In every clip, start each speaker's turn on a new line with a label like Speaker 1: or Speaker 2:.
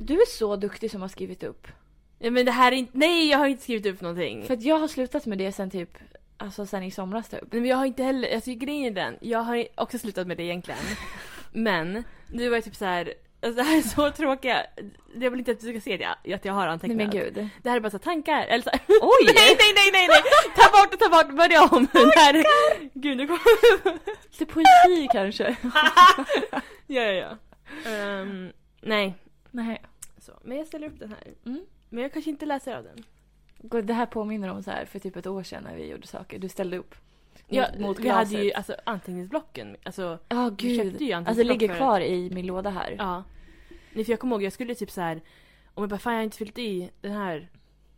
Speaker 1: du är så duktig som har skrivit upp.
Speaker 2: Ja, men det här är inte... Nej, jag har inte skrivit upp någonting.
Speaker 1: För att jag har slutat med det sen typ, alltså sen i somras typ.
Speaker 2: Nej, men jag har inte heller... Alltså grejen är den, jag har också slutat med det egentligen. men nu var jag typ så här... Alltså, det här är så tråkiga... Jag vill inte att du ska se det, att jag har
Speaker 1: Nej
Speaker 2: antecknat.
Speaker 1: men gud.
Speaker 2: Det här är bara så här tankar. Eller så här...
Speaker 1: Oj!
Speaker 2: nej, nej, nej, nej, nej! Ta bort det, ta bort, börja om! Det här... är- Gud, nu kommer...
Speaker 1: Lite poesi kanske?
Speaker 2: ja, ja, ja. Ehm, nej.
Speaker 1: Nej.
Speaker 2: Så. Men jag ställer upp den här.
Speaker 1: Mm.
Speaker 2: Men jag kanske inte läser av den.
Speaker 1: Gud, Det här påminner om så här för typ ett år sedan när vi gjorde saker. Du ställde upp.
Speaker 2: Ja,
Speaker 1: mot
Speaker 2: vi hade
Speaker 1: glaset.
Speaker 2: ju alltså, anteckningsblocken. Alltså,
Speaker 1: Ja
Speaker 2: vi köpte
Speaker 1: gud.
Speaker 2: ju
Speaker 1: Alltså det
Speaker 2: anteckningsblock
Speaker 1: ligger
Speaker 2: förut.
Speaker 1: kvar i min låda här.
Speaker 2: Ja. Nej, för jag kommer ihåg, jag skulle typ så här. Om jag bara, fan jag har inte fyllt i den här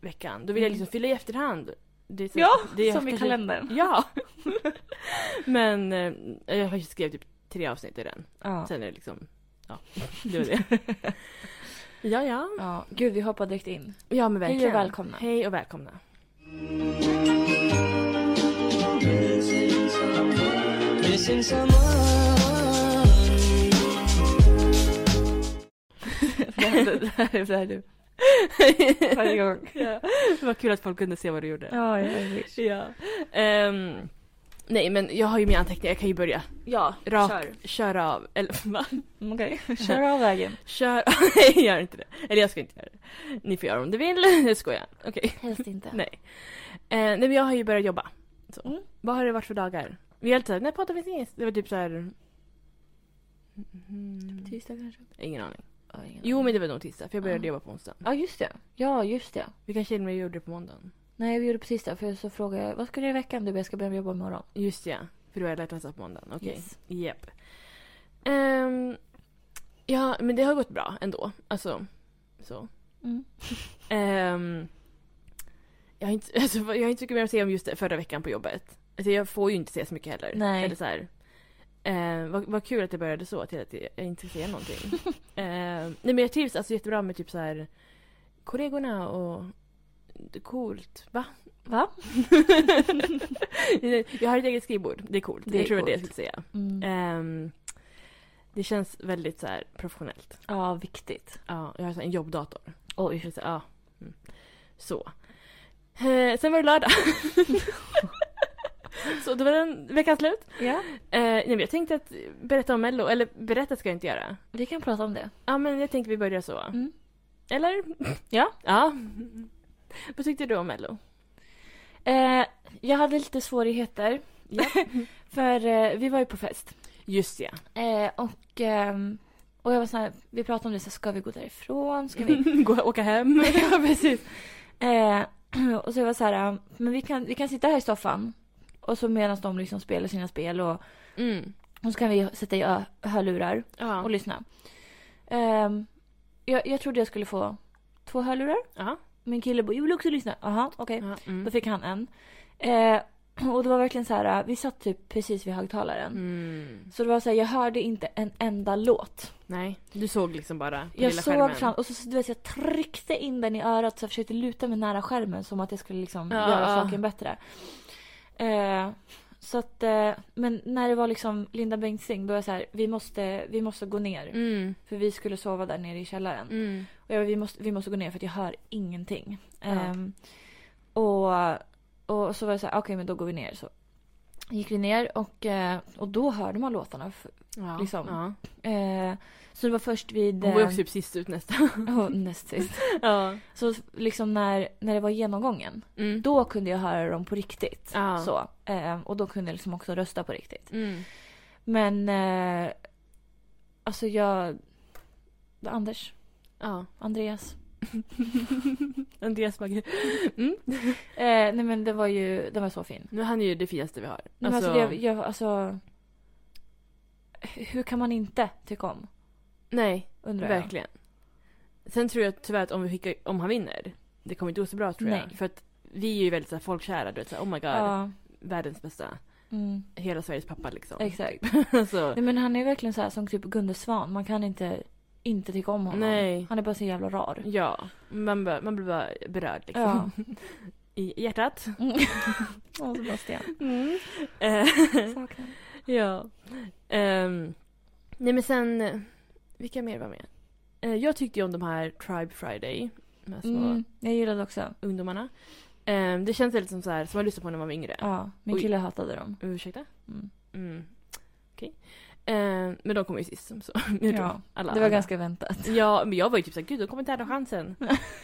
Speaker 2: veckan. Då vill jag
Speaker 1: Mm.
Speaker 2: liksom fylla i efterhand. Det är så- är
Speaker 1: som i
Speaker 2: kanske-
Speaker 1: kalendern.
Speaker 2: Ja. Men eh, jag kanske skrev typ tre avsnitt i den.
Speaker 1: Ja.
Speaker 2: Sen är det liksom, ja. Det var det. ja, ja.
Speaker 1: ja. Gud vi hoppar direkt in.
Speaker 2: Ja men
Speaker 1: Hej och
Speaker 2: verkligen.
Speaker 1: välkomna.
Speaker 2: Hej och välkomna.
Speaker 3: Missing someone.
Speaker 2: Det här, det här, det här är du.
Speaker 1: Varje gång.
Speaker 2: ja. Det var kul att folk kunde se vad du gjorde.
Speaker 1: Ja,
Speaker 2: Ja. Ehm, nej men jag har ju mina anteckningar, jag kan ju börja.
Speaker 1: ja
Speaker 2: Rak,
Speaker 1: kör.
Speaker 2: köra av. Eller va?
Speaker 1: Okej, kör av vägen.
Speaker 2: Kör Nej gör inte det. Eller jag ska inte göra det. Ni får göra om ni vill. Jag skojar. Okej.
Speaker 1: Helst inte.
Speaker 2: Nej. Eh, nej men jag har ju börjat jobba. Så.
Speaker 1: Mm.
Speaker 2: Vad har det varit för dagar? Vi har alltid såhär, när pratar vi senast? Det var typ såhär... Mm,
Speaker 1: Tisdag kanske?
Speaker 2: ingen aning.
Speaker 1: Ja, ingen
Speaker 2: Jo
Speaker 1: aning.
Speaker 2: men det var nog tisdag för jag började
Speaker 1: Ja.
Speaker 2: jobba på onsdagen.
Speaker 1: Ja just det. Ja just det.
Speaker 2: Vi kanske till och med gjorde det på måndagen.
Speaker 1: Nej vi gjorde precis det för så frågade jag vad ska du göra i veckan? Du bara jag ska börja jobba imorgon.
Speaker 2: Just ja, för du har jag lärt dansa på måndagen. Okej.
Speaker 1: Yes.
Speaker 2: Japp. Ehm, ja men det har gått bra ändå. Alltså, så.
Speaker 1: Mm.
Speaker 2: Ehm, jag, har inte, alltså, jag har inte så mycket mer att säga om just det, förra veckan på jobbet. Alltså, jag får ju inte säga så mycket heller.
Speaker 1: Nej.
Speaker 2: Eller så här, eh, vad, vad kul att det började så, till att jag inte säger någonting. Ehm, nej men jag trivs alltså jättebra med typ så här kollegorna och det är coolt, va?
Speaker 1: Va?
Speaker 2: jag har ett eget skrivbord, det är coolt.
Speaker 1: Det är
Speaker 2: jag tror det är det jag
Speaker 1: coolt.
Speaker 2: skulle säga.
Speaker 1: Mm.
Speaker 2: Ehm, det känns väldigt så här professionellt.
Speaker 1: Ja viktigt.
Speaker 2: Ja, jag har så här en jobbdator.
Speaker 1: Oj.
Speaker 2: Just det, ja. Mm. Så. Eh, sen var det lördag. så då var den veckan slut.
Speaker 1: Ja.
Speaker 2: Eh, nej, men jag tänkte att berätta om Mello, eller berätta ska jag inte göra.
Speaker 1: Vi kan prata om det.
Speaker 2: Ja men jag tänkte vi börjar så.
Speaker 1: Mm.
Speaker 2: Eller?
Speaker 1: Ja.
Speaker 2: Ja. Vad tyckte du om Mello?
Speaker 1: Eh, jag hade lite svårigheter.
Speaker 2: Ja.
Speaker 1: för eh, vi var ju på fest.
Speaker 2: Just ja.
Speaker 1: Eh, och, ehm, och jag var så här, vi pratade om det, så här, ska vi gå därifrån? Ska vi?
Speaker 2: Gå, åka hem.
Speaker 1: ja, precis. Eh, och så jag var så här, eh, men vi kan, vi kan sitta här i soffan. Och så medan de liksom spelar sina spel och,
Speaker 2: Mm.
Speaker 1: och så kan vi sätta i ö- hörlurar
Speaker 2: Ja.
Speaker 1: och lyssna. Ehm, jag, jag trodde jag skulle få två hörlurar.
Speaker 2: Ja.
Speaker 1: Min kille bara, jag vill också lyssna. Jaha, okej.
Speaker 2: Ja, mm.
Speaker 1: Då fick han en. Eh, och det var verkligen så här, eh, vi satt typ precis vid högtalaren.
Speaker 2: Mm.
Speaker 1: Så det var så här, jag hörde inte en enda låt.
Speaker 2: Nej, du såg liksom bara på
Speaker 1: Jag
Speaker 2: lilla
Speaker 1: såg
Speaker 2: skärmen.
Speaker 1: fram och så, så du vet, jag tryckte in den i örat så jag försökte luta mig nära skärmen som att jag skulle liksom
Speaker 2: Ja,
Speaker 1: göra
Speaker 2: ja.
Speaker 1: saken bättre. Eh, så att, eh, men när det var liksom Linda Bengtzing då var jag så här, vi måste, vi måste gå ner.
Speaker 2: Mm.
Speaker 1: För vi skulle sova där nere i källaren.
Speaker 2: Mm.
Speaker 1: Och jag, vi, måste, vi måste gå ner för att jag hör ingenting.
Speaker 2: Ja.
Speaker 1: Ehm, och, och så var det så här, okej men då går vi ner. Så gick vi ner och, eh, och då hörde man låtarna. F-
Speaker 2: Ja.
Speaker 1: Liksom.
Speaker 2: Ja.
Speaker 1: eh, så det var först vid...
Speaker 2: Hon var
Speaker 1: eh,
Speaker 2: ju också typ sist ut nästan. Mm.
Speaker 1: ja, näst sist.
Speaker 2: ja.
Speaker 1: Så liksom när, när det var genomgången,
Speaker 2: Mm.
Speaker 1: då kunde jag höra dem på riktigt.
Speaker 2: Ja.
Speaker 1: Så, eh, och då kunde jag liksom också rösta på riktigt.
Speaker 2: Mm.
Speaker 1: Men eh, alltså jag... Anders,
Speaker 2: Ja.
Speaker 1: Andreas.
Speaker 2: Andreas Mm. Bagge.
Speaker 1: Eh, nej men det var ju, den var så fin.
Speaker 2: Nu han är ju det finaste vi har.
Speaker 1: Nej, men alltså, det, jag, alltså, hur kan man inte tycka om?
Speaker 2: nej
Speaker 1: Undrar jag.
Speaker 2: verkligen. Sen tror jag tyvärr att om, vi skickar, om han vinner, det kommer inte gå så bra tror jag.
Speaker 1: Nej.
Speaker 2: För att vi är ju väldigt så här, folkkära, du vet såhär, oh my god,
Speaker 1: Ja,
Speaker 2: världens bästa,
Speaker 1: mm,
Speaker 2: hela Sveriges pappa liksom.
Speaker 1: exakt.
Speaker 2: alltså,
Speaker 1: Nej, men han är verkligen så här som typ Gunde Svan. Man kan inte inte tycka om honom.
Speaker 2: Nej. Mm.
Speaker 1: Han är bara så jävla rar.
Speaker 2: ja, man, bara- man blir bara berörd liksom.
Speaker 1: Ja.
Speaker 2: I hjärtat.
Speaker 1: Åh, Sebastian.
Speaker 2: Eh,
Speaker 1: Saknar.
Speaker 2: ja. Ehm, nej men sen, eh, vilka mer var med? Eh, jag tyckte ju om de här Tribe Friday. De här små
Speaker 1: Mm, jag gillade också.
Speaker 2: ungdomarna. Eh, det känns lite som så här, som man lyssnade på när man var yngre.
Speaker 1: Ja, min
Speaker 2: Oj.
Speaker 1: kille hatade dem.
Speaker 2: Ursäkta?
Speaker 1: Mm.
Speaker 2: Mm. Okej. Eh, men de kom ju sist. Så. jag tror
Speaker 1: Ja,
Speaker 2: alla,
Speaker 1: Det var
Speaker 2: alla.
Speaker 1: ganska väntat.
Speaker 2: Ja, men jag var ju typ såhär, gud de kommer inte här ha chansen.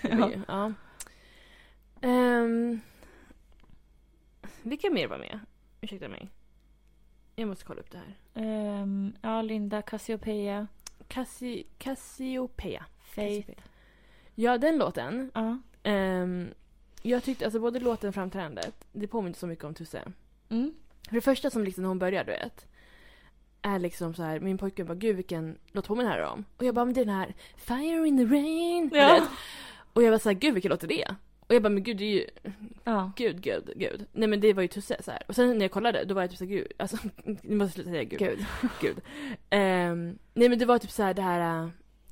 Speaker 2: Det var ju- ja. Ehm, vilka mer var med? Ursäkta mig. Jag måste kolla upp det här.
Speaker 1: Ehm, ja, Linda, Cassiopeia,
Speaker 2: Cassi, Cassiopeia.
Speaker 1: Faith.
Speaker 2: Cassiopeia. Ja, den låten.
Speaker 1: Ja.
Speaker 2: Ehm, jag tyckte alltså både låten och framträdandet, det påminner så mycket om Tusse.
Speaker 1: Mm.
Speaker 2: För det första som liksom när hon börjar, du vet. Är liksom så här, min pojkvän bara gud vilken låt påminner det här om? Och jag bara men det är den här Fire in the rain. du vet.
Speaker 1: Ja.
Speaker 2: Och jag var så här, gud vilken låt är det? Och jag bara men gud det är ju,
Speaker 1: ja.
Speaker 2: gud gud gud. Nej men det var ju Tusse så här. Och sen när jag kollade då var jag typ så här, gud, alltså nu måste jag sluta säga gud.
Speaker 1: Gud.
Speaker 2: gud. Ehm, nej men det var typ så här det här äh,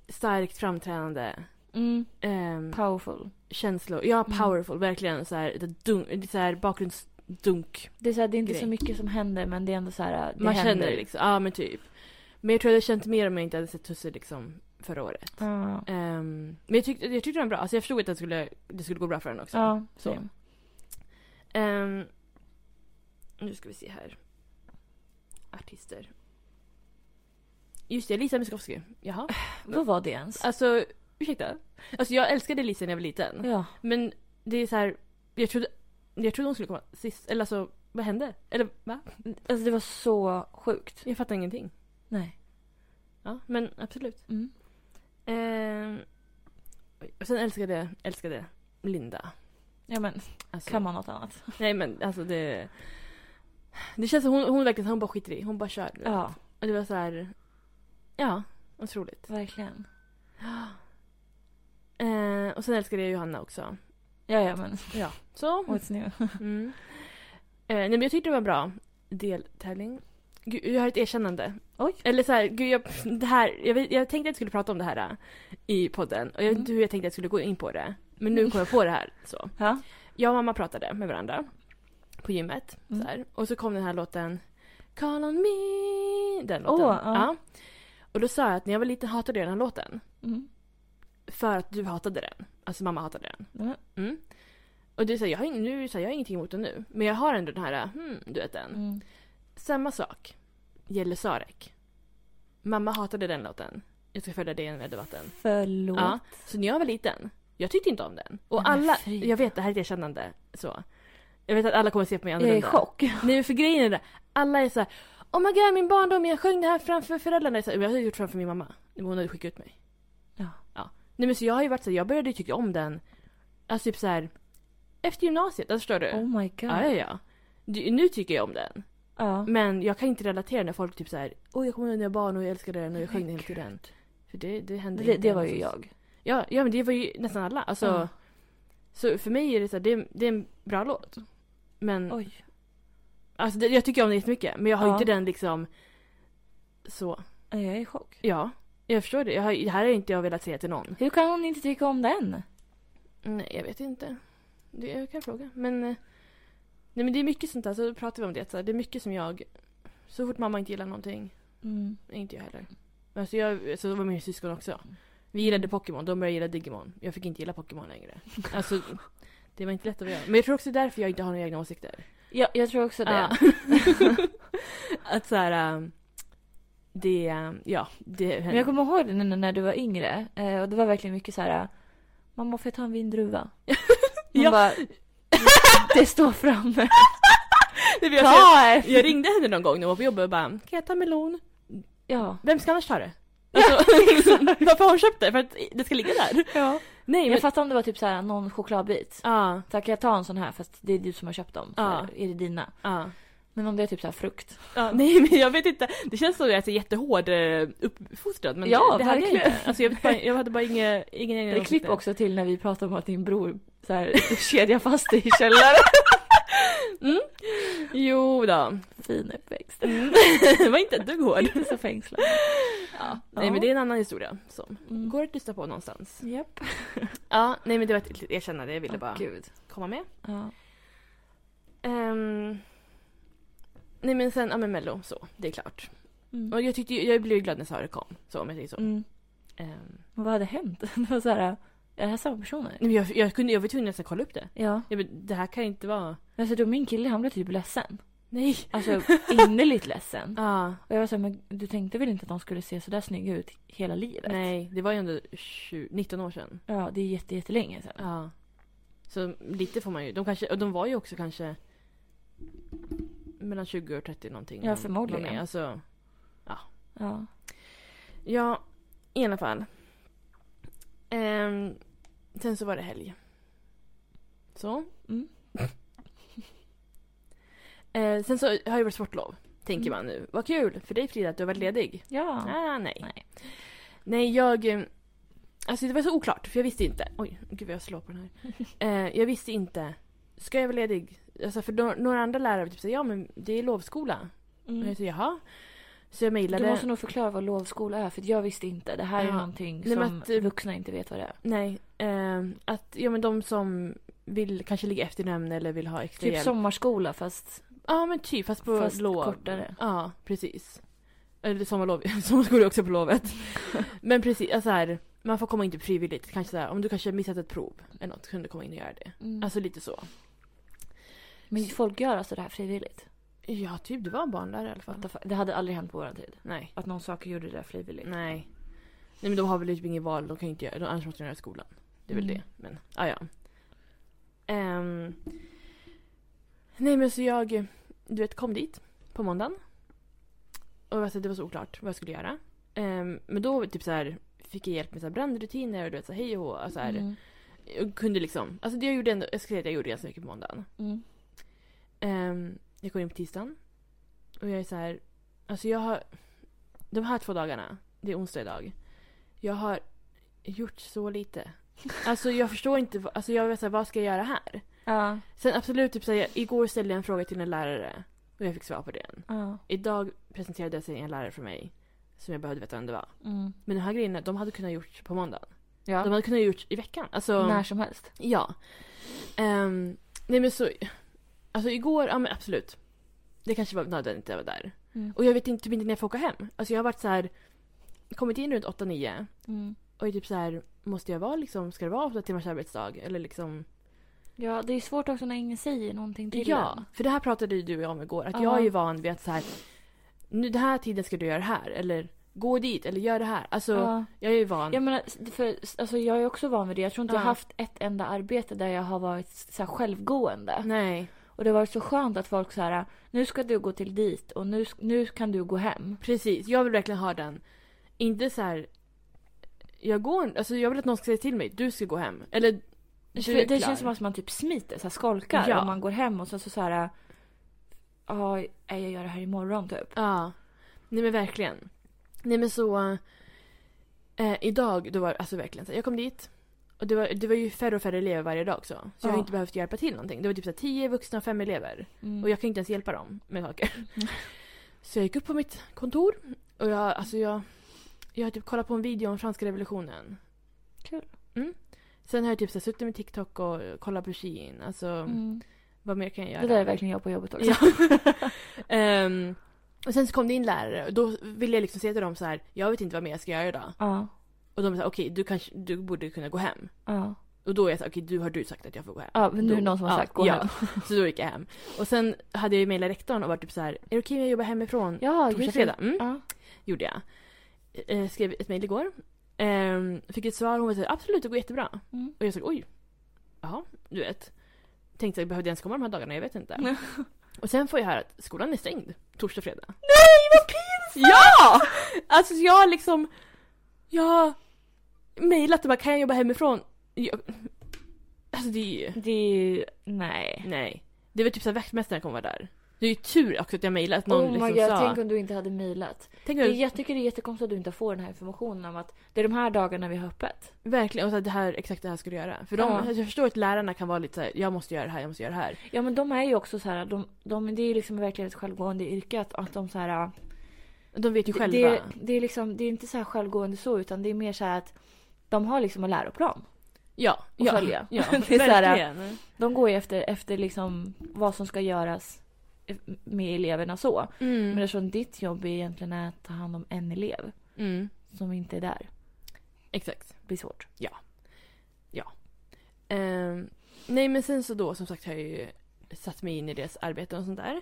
Speaker 2: starkt framträdande.
Speaker 1: Mm.
Speaker 2: ehm,
Speaker 1: Powerful.
Speaker 2: känslor, ja
Speaker 1: Mm.
Speaker 2: powerful, verkligen så här, det dunk, det är så här bakgrundsdunk.
Speaker 1: Det är, så här, det är inte
Speaker 2: Grej.
Speaker 1: så mycket som händer men det är ändå så här, det
Speaker 2: Man
Speaker 1: händer.
Speaker 2: känner det liksom, ja men typ. Men jag tror jag hade känt mer om jag inte hade sett Tusse liksom förra året.
Speaker 1: Ja.
Speaker 2: Ehm, men jag tyckte, jag tyckte den var bra, alltså jag förstod att den skulle, det skulle gå bra för den också.
Speaker 1: Ja,
Speaker 2: Så.
Speaker 1: same.
Speaker 2: Ehm, nu ska vi se här. Artister. Just det, Lisa Miskovsky. Jaha.
Speaker 1: Vad var det ens?
Speaker 2: Alltså, ursäkta. Alltså jag älskade Lisa när jag var liten.
Speaker 1: Ja.
Speaker 2: Men det är så här, jag trodde, jag trodde hon skulle komma sist. Eller alltså, vad hände? Eller va?
Speaker 1: Alltså det var så sjukt.
Speaker 2: Jag fattar ingenting.
Speaker 1: Nej.
Speaker 2: Ja, men absolut.
Speaker 1: Mm.
Speaker 2: Ehm, och sen älskade, älskade Linda.
Speaker 1: Ja men,
Speaker 2: Alltså,
Speaker 1: kan man något annat?
Speaker 2: Nej men alltså det... Det känns som hon, hon verkligen, hon bara skiter i. Hon bara kör. du vet.
Speaker 1: Ja,
Speaker 2: Och det var så här... Ja, otroligt.
Speaker 1: verkligen.
Speaker 2: Eh, och sen älskade jag Johanna också.
Speaker 1: Ja, ja men.
Speaker 2: Ja. Så.
Speaker 1: What's new?
Speaker 2: Mm. Eh, nej, men jag tyckte det var en bra deltävling. Gud, jag har ett erkännande.
Speaker 1: Oj.
Speaker 2: Eller så här, gud, jag, det här, jag, vet- jag tänkte att jag skulle prata om det här eh, i podden. Och jag vet inte
Speaker 1: Mm.
Speaker 2: hur jag tänkte att jag skulle gå in på det. Men nu kom jag på det här. Så.
Speaker 1: Ja.
Speaker 2: Jag och mamma pratade med varandra på gymmet.
Speaker 1: Mm.
Speaker 2: Så här. Och så kom den här låten Call on me. Den låten.
Speaker 1: Åh, ja.
Speaker 2: Och då sa jag att när jag var liten hatade jag den här låten.
Speaker 1: Mm.
Speaker 2: För att du hatade den. Alltså mamma hatade den.
Speaker 1: Ja.
Speaker 2: Mm. Och det är så här, jag har, ing- nu, är det så här, jag har ingenting emot den nu. Men jag har ändå den här, hmm, du vet den.
Speaker 1: Mm.
Speaker 2: Samma sak gäller Sarek. Mamma hatade den låten. Jag ska följa det i den här debatten.
Speaker 1: Förlåt.
Speaker 2: Ja, så när jag var liten, jag tyckte inte om den. Och
Speaker 1: Nej, men
Speaker 2: alla,
Speaker 1: fy.
Speaker 2: jag vet det här är ett erkännande. Så. Jag vet att alla kommer se på mig
Speaker 1: Jag är i
Speaker 2: annorlunda.
Speaker 1: chock.
Speaker 2: Nej men för grejen är det, alla är så här, Oh my god min barndom, jag sjöng det här framför föräldrarna. Jag, så här, jag har gjort framför min mamma. Men Hon hade skickat ut mig.
Speaker 1: Ja.
Speaker 2: Nej men så jag har ju varit så här, jag började ju tycka om den. Alltså typ så här. Efter gymnasiet, alltså förstår du?
Speaker 1: Oh my god.
Speaker 2: ja, ja, ja. Du- Nu tycker jag om den.
Speaker 1: Ja.
Speaker 2: Men jag kan inte relatera när folk typ såhär Åh jag kommer ihåg när jag var barn och jag älskade den och jag sjöng den hela tiden. För det, det hände
Speaker 1: Det,
Speaker 2: inte
Speaker 1: det var ju
Speaker 2: någonstans.
Speaker 1: jag.
Speaker 2: Ja, ja men det var ju nästan alla. Alltså,
Speaker 1: Ja.
Speaker 2: Så för mig är det så här, det, det är en bra låt. Men
Speaker 1: Oj.
Speaker 2: alltså, det, jag tycker om den jättemycket men jag har ju
Speaker 1: Ja.
Speaker 2: inte den liksom så.
Speaker 1: Jag är i chock.
Speaker 2: Ja, jag förstår det. Jag har, det här har inte jag velat säga till någon.
Speaker 1: Hur kan hon inte tycka om den?
Speaker 2: Nej jag vet inte. Det, jag kan fråga. Men, eh, nej, men det är mycket sånt där, så pratar vi om det. Så här, det är mycket som jag, så fort mamma inte gillar någonting
Speaker 1: Mm.
Speaker 2: Nej, Inte jag heller. Men alltså jag, så var min syskon också. Vi gillade Pokémon, de började gilla Digimon. Jag fick inte gilla Pokémon längre. Alltså, det var inte lätt att göra. Men jag tror också det är därför jag inte har några egna åsikter.
Speaker 1: Ja, jag tror också det.
Speaker 2: Ja. att så här, ähm, det, ähm, ja, det
Speaker 1: Men jag kommer ihåg det när, när du var yngre. Eh, och det var verkligen mycket så här. Mamma, får jag ta en vindruva? Hon
Speaker 2: Ja.
Speaker 1: bara, det står framme.
Speaker 2: Nej, men jag, jag,
Speaker 1: Ta en!
Speaker 2: jag ringde henne någon gång när hon var på jobbet och bara Kan jag ta melon?
Speaker 1: Ja.
Speaker 2: Vem ska annars ta det? Alltså, varför har hon köpt det? För att det ska ligga där?
Speaker 1: ja.
Speaker 2: Nej men...
Speaker 1: Jag fattar om det var typ så här någon chokladbit.
Speaker 2: Ja,
Speaker 1: Så här, kan jag ta en sån här fast det är du som har köpt dem? Så
Speaker 2: Ja.
Speaker 1: här, Är det dina?
Speaker 2: ja.
Speaker 1: Men om det är typ så här frukt.
Speaker 2: Ja, nej men jag vet inte, det känns som att jag är jättehård eh, uppfostrad men
Speaker 1: Ja,
Speaker 2: det hade jag
Speaker 1: verkligen.
Speaker 2: inte. Alltså, jag, vet bara, jag hade bara inga, ingen egen
Speaker 1: Det
Speaker 2: åsikt
Speaker 1: klipp
Speaker 2: där.
Speaker 1: också till när vi pratar om att din bror så här, kedjar fast dig i källaren.
Speaker 2: Mm. Jo då.
Speaker 1: Fin uppväxt.
Speaker 2: Mm. det var inte ett dugg hård.
Speaker 1: Inte så fängslad.
Speaker 2: Nej men det är en annan historia som
Speaker 1: Mm.
Speaker 2: går att lyssna på någonstans.
Speaker 1: Japp.
Speaker 2: Ja, nej men det var ett litet erkännande jag ville
Speaker 1: Åh,
Speaker 2: bara
Speaker 1: Gud.
Speaker 2: komma med.
Speaker 1: Ja.
Speaker 2: Ehm, nej men sen, ja men mello så, det är klart.
Speaker 1: Mm.
Speaker 2: Och jag tyckte ju- jag blev ju glad när Sara kom, så om jag säger så.
Speaker 1: Mm.
Speaker 2: Ehm,
Speaker 1: Men vad hade hänt? Det var så här, är det här samma personer?
Speaker 2: nej, men jag, jag, kunde, jag var tvungen att nästan kolla upp det.
Speaker 1: Ja.
Speaker 2: Jag bara, det här kan inte vara...
Speaker 1: Alltså då min kille han blev typ ledsen.
Speaker 2: Nej! Ah,
Speaker 1: Alltså innerligt ledsen.
Speaker 2: Ja,
Speaker 1: Och jag var så här, men du tänkte väl inte att de skulle se så där snygga ut hela livet?
Speaker 2: nej, det var ju ändå 20, 19 år sedan.
Speaker 1: Ja, det är jätte, jättelänge sedan.
Speaker 2: Ja. Så lite får man ju. De, kanske, och de var ju också kanske mellan 20 och 30 någonting.
Speaker 1: Ja,
Speaker 2: när de
Speaker 1: förmodligen.
Speaker 2: var med. Alltså,
Speaker 1: Ja.
Speaker 2: ja, i alla fall. Ehm, sen så var det helg. Så.
Speaker 1: Mm.
Speaker 2: Eh, sen så har ju varit sportlov. Tänker
Speaker 1: Mm.
Speaker 2: man nu. Vad kul för dig Frida att du har varit ledig.
Speaker 1: Ja.
Speaker 2: Ah, nej.
Speaker 1: Nej.
Speaker 2: Nej, jag... eh, Alltså det var så oklart, för jag visste inte. Oj, gud vad jag slår på den här. Eh, jag visste inte. Ska jag vara ledig? Alltså för no- några andra lärare typ säger ja men det är lovskola. Och
Speaker 1: Mm.
Speaker 2: jag sa jaha. Så jag mejlade.
Speaker 1: Du måste nog förklara vad lovskola är för att jag visste inte. Det här är
Speaker 2: Ja.
Speaker 1: någonting
Speaker 2: Nej,
Speaker 1: som
Speaker 2: men att, eh,
Speaker 1: vuxna inte vet vad det är.
Speaker 2: Nej. Eh, att ja men de som vill kanske ligga efter nämn eller vill ha extra
Speaker 1: Typ
Speaker 2: hjälp.
Speaker 1: sommarskola fast...
Speaker 2: Ja men typ, fast på
Speaker 1: Fast
Speaker 2: lov.
Speaker 1: kortare.
Speaker 2: Ja, precis. Eller sommarlov, sommarskola är också på lovet. men precis, alltså här, man får komma in typ frivilligt. Kanske så här, om du kanske missat ett prov eller något, kunde komma in och göra
Speaker 1: Mm.
Speaker 2: det. Alltså lite så.
Speaker 1: Men folk gör alltså det här frivilligt?
Speaker 2: Ja, typ det var barn där i alla fall.
Speaker 1: What the fuck? Det hade aldrig hänt på vår tid.
Speaker 2: Nej.
Speaker 1: Att någon sak gjorde det där frivilligt.
Speaker 2: Nej. Nej men de har väl typ inget val, de kan ju inte göra, de annars måste de göra i skolan. Det är väl
Speaker 1: Mm.
Speaker 2: det. Men, ah, ja. Ehm. nej men så jag, du vet, kom dit på måndagen. Och alltså, det var så oklart vad jag skulle göra. Ehm, men då typ så här, fick jag hjälp med så här, brandrutiner och du vet så här, hej och hå. Alltså, här,
Speaker 1: Mm.
Speaker 2: Jag kunde liksom, alltså det jag gjorde ändå, jag ska säga att jag gjorde ganska mycket på måndagen.
Speaker 1: Mm.
Speaker 2: Ehm, jag går in på tisdagen. Och jag är så här... Alltså jag har... De här två dagarna, det är onsdag idag. Jag har gjort så lite. Alltså jag förstår inte, vad- alltså jag vet så här, vad ska jag göra här?
Speaker 1: Ja.
Speaker 2: Sen absolut, typ så här, jag, igår ställde jag en fråga till en lärare. Och jag fick svar på den.
Speaker 1: Ja.
Speaker 2: Idag presenterade sig en lärare för mig. Som jag behövde veta vem det var.
Speaker 1: Mm.
Speaker 2: Men de här grejerna, de hade kunnat gjorts på måndagen.
Speaker 1: ja.
Speaker 2: De hade kunnat gjorts i veckan. Alltså,
Speaker 1: När som helst.
Speaker 2: Ja. Ehm, nej men så... Alltså igår, ja men absolut. Det kanske var nödvändigt att jag var där.
Speaker 1: Mm.
Speaker 2: Och jag vet inte, typ inte när jag får åka hem. Alltså jag har varit så här... Kommit in runt 8-9
Speaker 1: Mm.
Speaker 2: och är typ så här... Måste jag vara liksom... Ska det vara 8 timmars arbetsdag? Eller liksom...
Speaker 1: Ja, det är svårt också när ingen säger någonting till
Speaker 2: Ja. För det här pratade ju du och jag om igår. Att jag
Speaker 1: Ja.
Speaker 2: är ju van vid att så här... Nu den här tiden ska du göra det här. Eller gå dit. Eller gör det här. Alltså
Speaker 1: en. Ja.
Speaker 2: jag är ju van.
Speaker 1: Jag menar, för, alltså, jag är också van vid det. Jag tror inte jag
Speaker 2: Ja.
Speaker 1: haft ett enda arbete där jag har varit så här självgående.
Speaker 2: Nej.
Speaker 1: Och det har varit så skönt att folk så här, nu ska du gå till dit och nu, nu kan du gå hem.
Speaker 2: Precis, jag vill verkligen ha den. Inte så här. Jag går alltså jag vill att någon ska säga till mig, du ska gå hem. Eller du
Speaker 1: För
Speaker 2: är
Speaker 1: det
Speaker 2: klar.
Speaker 1: känns som att man typ smiter, så här, skolkar
Speaker 2: Ja.
Speaker 1: och man går hem och så, så, så här, ja, jag gör det här imorgon typ.
Speaker 2: Ja. Nej men verkligen. Nej men så. Eh, idag, då var alltså verkligen så här, jag kom dit. Och det var, det var ju färre och färre elever varje dag också. Så jag har
Speaker 1: Ja.
Speaker 2: inte behövt hjälpa till någonting. Det var typ så här, tio vuxna och fem elever.
Speaker 1: Mm.
Speaker 2: Och jag kan inte ens hjälpa dem med saker. Mm. Så jag gick upp på mitt kontor. Och jag, alltså jag. Jag har typ kollat på en video om franska revolutionen.
Speaker 1: Kul.
Speaker 2: Sen har jag typ så här, suttit med TikTok och kollat på Shein. Alltså,
Speaker 1: Mm.
Speaker 2: vad mer kan jag göra?
Speaker 1: Det där är verkligen jag på jobbet också.
Speaker 2: Ja. Ehm, och sen så kom det in lärare och då ville jag liksom säga till dem så här, jag vet inte vad mer jag ska göra idag.
Speaker 1: Ja.
Speaker 2: Och de sa okej, du, kanske- du borde kunna gå hem.
Speaker 1: Ja.
Speaker 2: Och då är jag så här, okej, du har du sagt att jag får gå hem.
Speaker 1: ja, men nu är det någon som har
Speaker 2: Ja,
Speaker 1: sagt gå
Speaker 2: ja.
Speaker 1: hem.
Speaker 2: Så då gick jag hem. Och sen hade jag ju mejlat rektorn och varit typ så här, är det okej om jag jobbar hemifrån?
Speaker 1: Ja,
Speaker 2: Torsdag,
Speaker 1: just
Speaker 2: fredag.
Speaker 1: det.
Speaker 2: Mm,
Speaker 1: Ja.
Speaker 2: gjorde jag. Eh, skrev ett mejl igår. Ehm, fick ett svar, hon var så här, absolut det går jättebra.
Speaker 1: Mm.
Speaker 2: Och jag sa oj. Jaha, du vet. Tänkte jag behövde jag ens komma de här dagarna, jag vet inte. och sen får jag höra att skolan är stängd torsdag och fredag.
Speaker 1: Nej, vad pinsamt!
Speaker 2: Ja! Alltså jag har liksom... Jag har mejlat och bara kan jag jobba hemifrån? Jag, alltså det är ju...
Speaker 1: Det är ju, nej.
Speaker 2: Nej. Det var typ såhär vaktmästaren kommer vara där. Det är ju tur också att jag mejlade att någon
Speaker 1: oh my
Speaker 2: liksom
Speaker 1: god,
Speaker 2: sa...
Speaker 1: tänk om du inte hade mejlat.
Speaker 2: Tänk
Speaker 1: Det
Speaker 2: om-
Speaker 1: är- Jag tycker det är jättekonstigt att du inte får den här informationen om att det är de här dagarna vi har öppet.
Speaker 2: Verkligen, och så här, det här, exakt det här ska du göra. För de,
Speaker 1: Ja.
Speaker 2: alltså, jag förstår att lärarna kan vara lite såhär, jag måste göra det här, jag måste göra det här.
Speaker 1: Ja men de är ju också så här, de, de, det är ju liksom verkligen ett självgående yrke att, att de så här...
Speaker 2: De vet ju själva.
Speaker 1: Det, det, är liksom, det är inte så här självgående så utan det är mer så här att de har liksom en läroplan.
Speaker 2: ja,
Speaker 1: och
Speaker 2: ja,
Speaker 1: följa.
Speaker 2: Ja,
Speaker 1: Det är så här-
Speaker 2: verkligen.
Speaker 1: De går ju efter, efter liksom vad som ska göras med eleverna så. Men
Speaker 2: Mm.
Speaker 1: eftersom ditt jobb är egentligen är att ta hand om en elev
Speaker 2: Mm.
Speaker 1: som inte är där.
Speaker 2: Exakt. Blir svårt. Ja. Ja. Ehm, nej men sen så då som sagt har jag ju satt mig in i deras arbete och sånt där.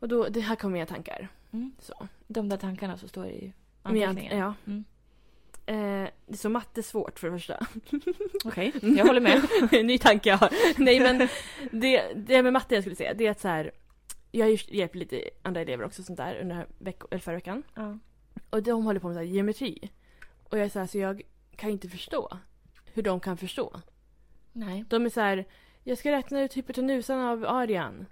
Speaker 2: Och då, det här kom mina tankar.
Speaker 1: Mm.
Speaker 2: Så.
Speaker 1: De där tankarna som står i
Speaker 2: Men jag-
Speaker 1: anteckningen.
Speaker 2: Ja.
Speaker 1: Mm.
Speaker 2: Eh, det är så matte är svårt för det första. Mm.
Speaker 1: Okej, jag håller med.
Speaker 2: Ny tanke jag har. Nej men det, det med matte jag skulle säga det är att så här. Jag har ju hjälpt lite andra elever också sånt där under den här veck- eller förra veckan.
Speaker 1: ja.
Speaker 2: Och de håller på med så här geometri. Och jag är så här, så jag kan inte förstå hur de kan förstå.
Speaker 1: Nej.
Speaker 2: De är så här, jag ska räkna ut hypotenusan av arean.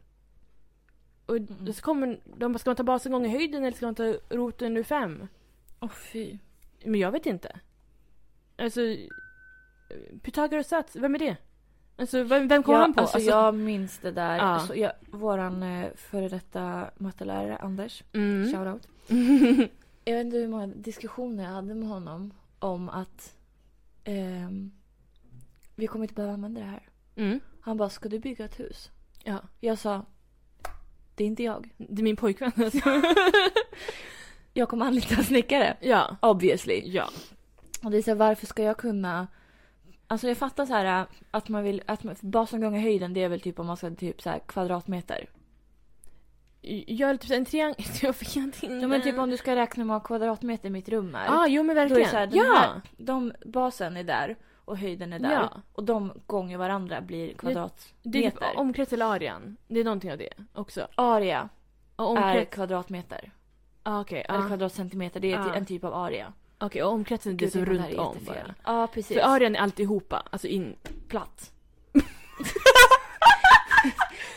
Speaker 2: Och
Speaker 1: Mm.
Speaker 2: så kommer de bara, ska man ta basen gånger höjden eller ska man ta roten ur fem?
Speaker 1: Åh fy.
Speaker 2: Men jag vet inte. Alltså, Pythagoras sats, vem är det? Alltså vem, vem kom
Speaker 1: Ja,
Speaker 2: han på?
Speaker 1: Alltså, jag minns det där.
Speaker 2: Ja.
Speaker 1: Alltså, jag, våran eh, före detta mattelärare Anders,
Speaker 2: Mm.
Speaker 1: shoutout. Jag vet inte hur många diskussioner jag hade med honom om att ehm, vi kommer inte behöva använda det här.
Speaker 2: Mm.
Speaker 1: Han bara, ska du bygga ett hus?
Speaker 2: Ja,
Speaker 1: Jag sa, det är inte jag.
Speaker 2: det är min pojkvän. Alltså.
Speaker 1: Jag kommer anlita en snickare.
Speaker 2: ja.
Speaker 1: Obviously.
Speaker 2: Ja.
Speaker 1: Och det är så här, varför ska jag kunna... Alltså jag fattar så här äh, att man vill... Att man, basen gånger höjden det är väl typ om man ska typ så här kvadratmeter.
Speaker 2: Jag är typ så här en triangel. Jag fick inte in
Speaker 1: Ja men typ
Speaker 2: den.
Speaker 1: om du ska räkna hur många kvadratmeter mitt rum är.
Speaker 2: ah, jo men
Speaker 1: då är det
Speaker 2: verkligen.
Speaker 1: så här, den
Speaker 2: ja.
Speaker 1: här, de, basen är där och höjden är där.
Speaker 2: Ja.
Speaker 1: Och de gånger varandra blir kvadratmeter.
Speaker 2: Det är typ omkrets eller arean. Det är någonting av det också.
Speaker 1: Area
Speaker 2: Och
Speaker 1: är
Speaker 2: omkrets.
Speaker 1: kvadratmeter.
Speaker 2: Ah, Okej,
Speaker 1: Eller
Speaker 2: ah.
Speaker 1: kvadratcentimeter, det är
Speaker 2: Ja.
Speaker 1: en typ av area.
Speaker 2: Okej, och omkretsen är det
Speaker 1: Gud,
Speaker 2: som
Speaker 1: jag
Speaker 2: är
Speaker 1: kan det här
Speaker 2: runt om
Speaker 1: jättefel.
Speaker 2: bara.
Speaker 1: Ja precis.
Speaker 2: För arean är alltihopa, alltså in...
Speaker 1: platt.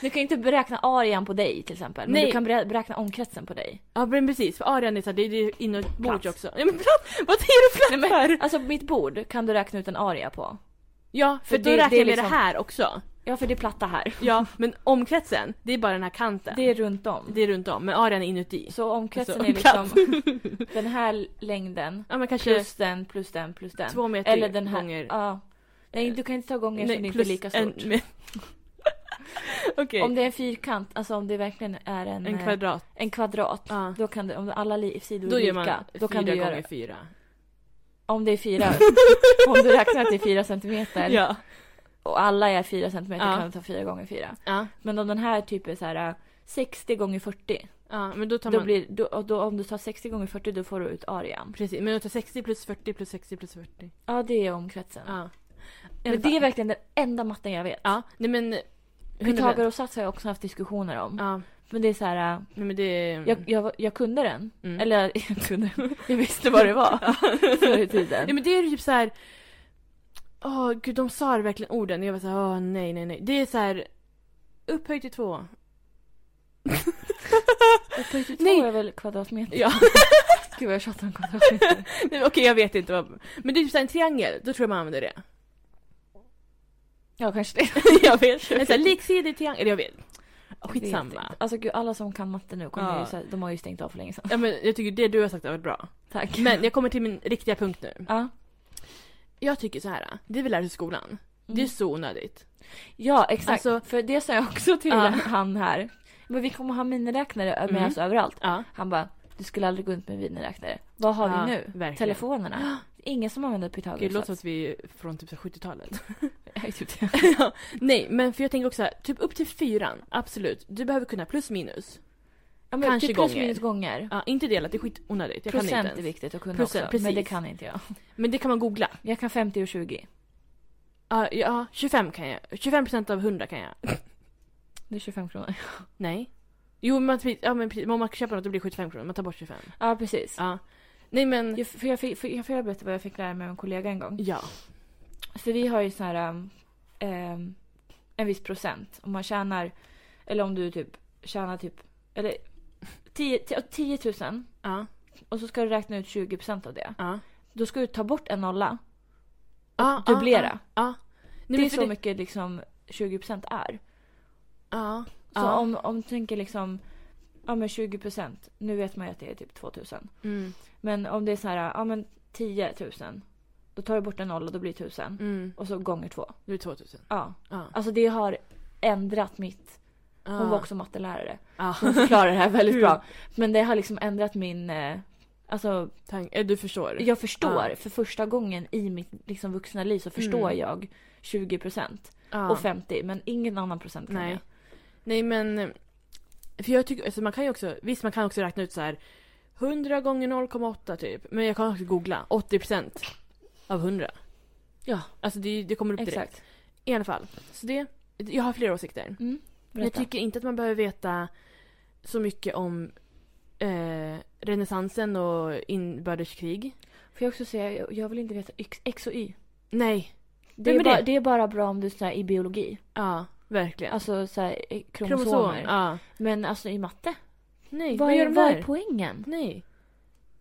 Speaker 1: du kan ju inte beräkna arean på dig till exempel. Men
Speaker 2: Nej.
Speaker 1: du kan berä- beräkna omkretsen på dig.
Speaker 2: Ja men precis, för arean är så här, det det är inombords
Speaker 1: Plats.
Speaker 2: också. Ja men platt! Vad säger du platt för?
Speaker 1: Alltså mitt bord kan du räkna ut en area på.
Speaker 2: Ja, för,
Speaker 1: För
Speaker 2: då
Speaker 1: det-
Speaker 2: räknar
Speaker 1: det är
Speaker 2: jag med det
Speaker 1: liksom-
Speaker 2: här också.
Speaker 1: Ja för det är platta här.
Speaker 2: Ja, men omkretsen, det är bara den här kanten.
Speaker 1: Det är runt om.
Speaker 2: det är runt om, men arean är inuti.
Speaker 1: Så omkretsen
Speaker 2: Alltså,
Speaker 1: är liksom den här längden
Speaker 2: Ja men kanske
Speaker 1: plus den plus den plus den.
Speaker 2: två meter
Speaker 1: Eller den här.
Speaker 2: gånger...
Speaker 1: Ja. Nej du kan inte ta gånger som det inte är
Speaker 2: plus
Speaker 1: lika
Speaker 2: en-
Speaker 1: stort.
Speaker 2: men- Okej,
Speaker 1: Om det är en fyrkant, alltså om det verkligen är en,
Speaker 2: en
Speaker 1: eh,
Speaker 2: kvadrat.
Speaker 1: en kvadrat.
Speaker 2: Ja.
Speaker 1: Då kan du, om alla li- sidor
Speaker 2: Då
Speaker 1: är lika.
Speaker 2: gör man
Speaker 1: då kan
Speaker 2: fyra
Speaker 1: du göra,
Speaker 2: gånger fyra.
Speaker 1: Om det är fyra. om du räknar att det är fyra centimeter.
Speaker 2: Ja.
Speaker 1: och alla är 4 centimeter
Speaker 2: Ja.
Speaker 1: kan du ta 4 gånger 4.
Speaker 2: Ja.
Speaker 1: Men om den här typ är så här äh, 60 gånger 40.
Speaker 2: ja, men då tar
Speaker 1: Då
Speaker 2: man...
Speaker 1: blir, då, och då, om du tar 60 gånger 40 då får du ut arean.
Speaker 2: Precis, men då tar 60 plus 40 plus 60 plus 40.
Speaker 1: Ja det är omkretsen.
Speaker 2: Ja.
Speaker 1: Men det är verkligen den enda matten jag vet.
Speaker 2: Ja, nej men...
Speaker 1: Pythagoras sats har jag också haft diskussioner om.
Speaker 2: Ja,
Speaker 1: Men det är så här, äh,
Speaker 2: nej men det...
Speaker 1: jag, jag, jag kunde den.
Speaker 2: Mm.
Speaker 1: Eller jag kunde Jag visste vad det var förr i tiden.
Speaker 2: Nej men det är ju typ så här. Åh gud, de sa det verkligen orden och jag var så här, åh nej nej nej. Det är så här. Upphöjt till två.
Speaker 1: Upphöjt till typ två
Speaker 2: Nej.
Speaker 1: är väl kvadratmeter?
Speaker 2: Ja.
Speaker 1: Gud vad jag tjatar om kvadratmeter.
Speaker 2: nej, men okej jag vet inte vad. Men det är typ så här en triangel, då tror jag man använder det.
Speaker 1: ja kanske det.
Speaker 2: jag vet. En så här liksidig triangel, eller jag vet.
Speaker 1: Jag vet
Speaker 2: Skitsamma.
Speaker 1: inte. Alltså gud alla som kan matte nu kommer
Speaker 2: Ja.
Speaker 1: ju så här, de har ju stängt av för länge sedan.
Speaker 2: Ja men jag tycker det du har sagt har varit bra.
Speaker 1: Tack.
Speaker 2: Men jag kommer till min riktiga punkt nu.
Speaker 1: Ja.
Speaker 2: Jag tycker så här. det vi lär oss i skolan.
Speaker 1: Mm.
Speaker 2: Det är så onödigt.
Speaker 1: Ja, exakt.
Speaker 2: Alltså-
Speaker 1: för det sa jag också till
Speaker 2: Ja.
Speaker 1: han här. Men vi kommer ha miniräknare med
Speaker 2: Mm.
Speaker 1: oss överallt.
Speaker 2: Ja.
Speaker 1: Han bara, du skulle aldrig gå runt med miniräknare. Vad har
Speaker 2: Ja,
Speaker 1: vi nu?
Speaker 2: verkligen.
Speaker 1: Telefonerna. Ingen som använder
Speaker 2: Gud, det låter som
Speaker 1: Pythagoras.
Speaker 2: att vi är från typ så här 70-talet.
Speaker 1: Gud,
Speaker 2: ja, nej, men för jag tänker också här, typ upp till fyran, absolut. Du behöver kunna plus minus.
Speaker 1: ja, men
Speaker 2: Kanske
Speaker 1: typ plus
Speaker 2: gånger.
Speaker 1: minus gånger.
Speaker 2: Ja, inte delat, det är skitonödigt. Jag kan
Speaker 1: Procent
Speaker 2: inte
Speaker 1: är
Speaker 2: ens.
Speaker 1: viktigt att kunna
Speaker 2: Procent,
Speaker 1: också. Men
Speaker 2: precis.
Speaker 1: det kan inte jag.
Speaker 2: Men det kan man googla.
Speaker 1: Jag kan 50 och 20.
Speaker 2: Ja, ja 25 kan jag. 25 procent av 100 kan jag.
Speaker 1: Det är 25 kronor.
Speaker 2: Nej. Jo, men, att vi- ja, men precis. om man köper något då blir det 75 kronor. Man tar bort 25.
Speaker 1: Ja, precis.
Speaker 2: Ja. Nej, men...
Speaker 1: Jag, för jag, fick, för jag får jag berätta vad jag fick lära mig av en kollega en gång?
Speaker 2: Ja.
Speaker 1: För Alltså, vi har ju sån här um, ehm, en viss procent. Om man tjänar, eller om du typ tjänar typ, eller 10, 10 000
Speaker 2: Ja.
Speaker 1: och så ska du räkna ut 20 procent av det.
Speaker 2: Ja.
Speaker 1: Då ska du ta bort en nolla.
Speaker 2: Ja,
Speaker 1: dubblera.
Speaker 2: Ja. ja. Ah, Nej,
Speaker 1: det
Speaker 2: men
Speaker 1: är
Speaker 2: för
Speaker 1: så mycket liksom 20 procent är.
Speaker 2: Ja.
Speaker 1: Så
Speaker 2: ja.
Speaker 1: om, om du tänker liksom, ja men 20 procent, nu vet man ju att det är typ 2 000.
Speaker 2: Mm.
Speaker 1: Men om det är så här, ja men 10 000. Då tar du bort en nolla, då blir det 1000.
Speaker 2: Mm.
Speaker 1: Och så gånger två.
Speaker 2: Nu är det 2000.
Speaker 1: Ja.
Speaker 2: Ja.
Speaker 1: Alltså det har ändrat mitt
Speaker 2: ja.
Speaker 1: Hon var också mattelärare.
Speaker 2: Ja.
Speaker 1: Hon förklarar det här väldigt bra. Men det har liksom ändrat min... eh, Alltså,
Speaker 2: Tank, eh, du förstår.
Speaker 1: jag förstår.
Speaker 2: Ja.
Speaker 1: För första gången i mitt liksom, vuxna liv så förstår
Speaker 2: Mm.
Speaker 1: jag 20 procent
Speaker 2: Ja.
Speaker 1: och 50 men ingen annan procent kan
Speaker 2: Nej.
Speaker 1: jag.
Speaker 2: Nej men, eh, för jag tycker, alltså man kan ju också, visst man kan också räkna ut så här 100 gånger 0,8 typ. Men jag kan också googla 80% av 100.
Speaker 1: Ja.
Speaker 2: Alltså det, det kommer upp direkt.
Speaker 1: Exakt.
Speaker 2: I alla fall. Så det, jag har flera åsikter.
Speaker 1: Mm.
Speaker 2: Jag
Speaker 1: Berätta.
Speaker 2: tycker inte att man behöver veta så mycket om eh, renässansen och inbördeskrig.
Speaker 1: Får jag också säga, jag- jag vill inte veta X, X och Y.
Speaker 2: Nej.
Speaker 1: Det
Speaker 2: Nej,
Speaker 1: är,
Speaker 2: men
Speaker 1: bara,
Speaker 2: det-
Speaker 1: det är bara bra om du är så här, i biologi.
Speaker 2: Ja, verkligen.
Speaker 1: Alltså så här, eh, kromosomer.
Speaker 2: Kromosom. Ja.
Speaker 1: Men alltså i matte.
Speaker 2: Nej,
Speaker 1: Vad
Speaker 2: vad gör
Speaker 1: är,
Speaker 2: de
Speaker 1: vad är
Speaker 2: där?
Speaker 1: poängen?
Speaker 2: Nej.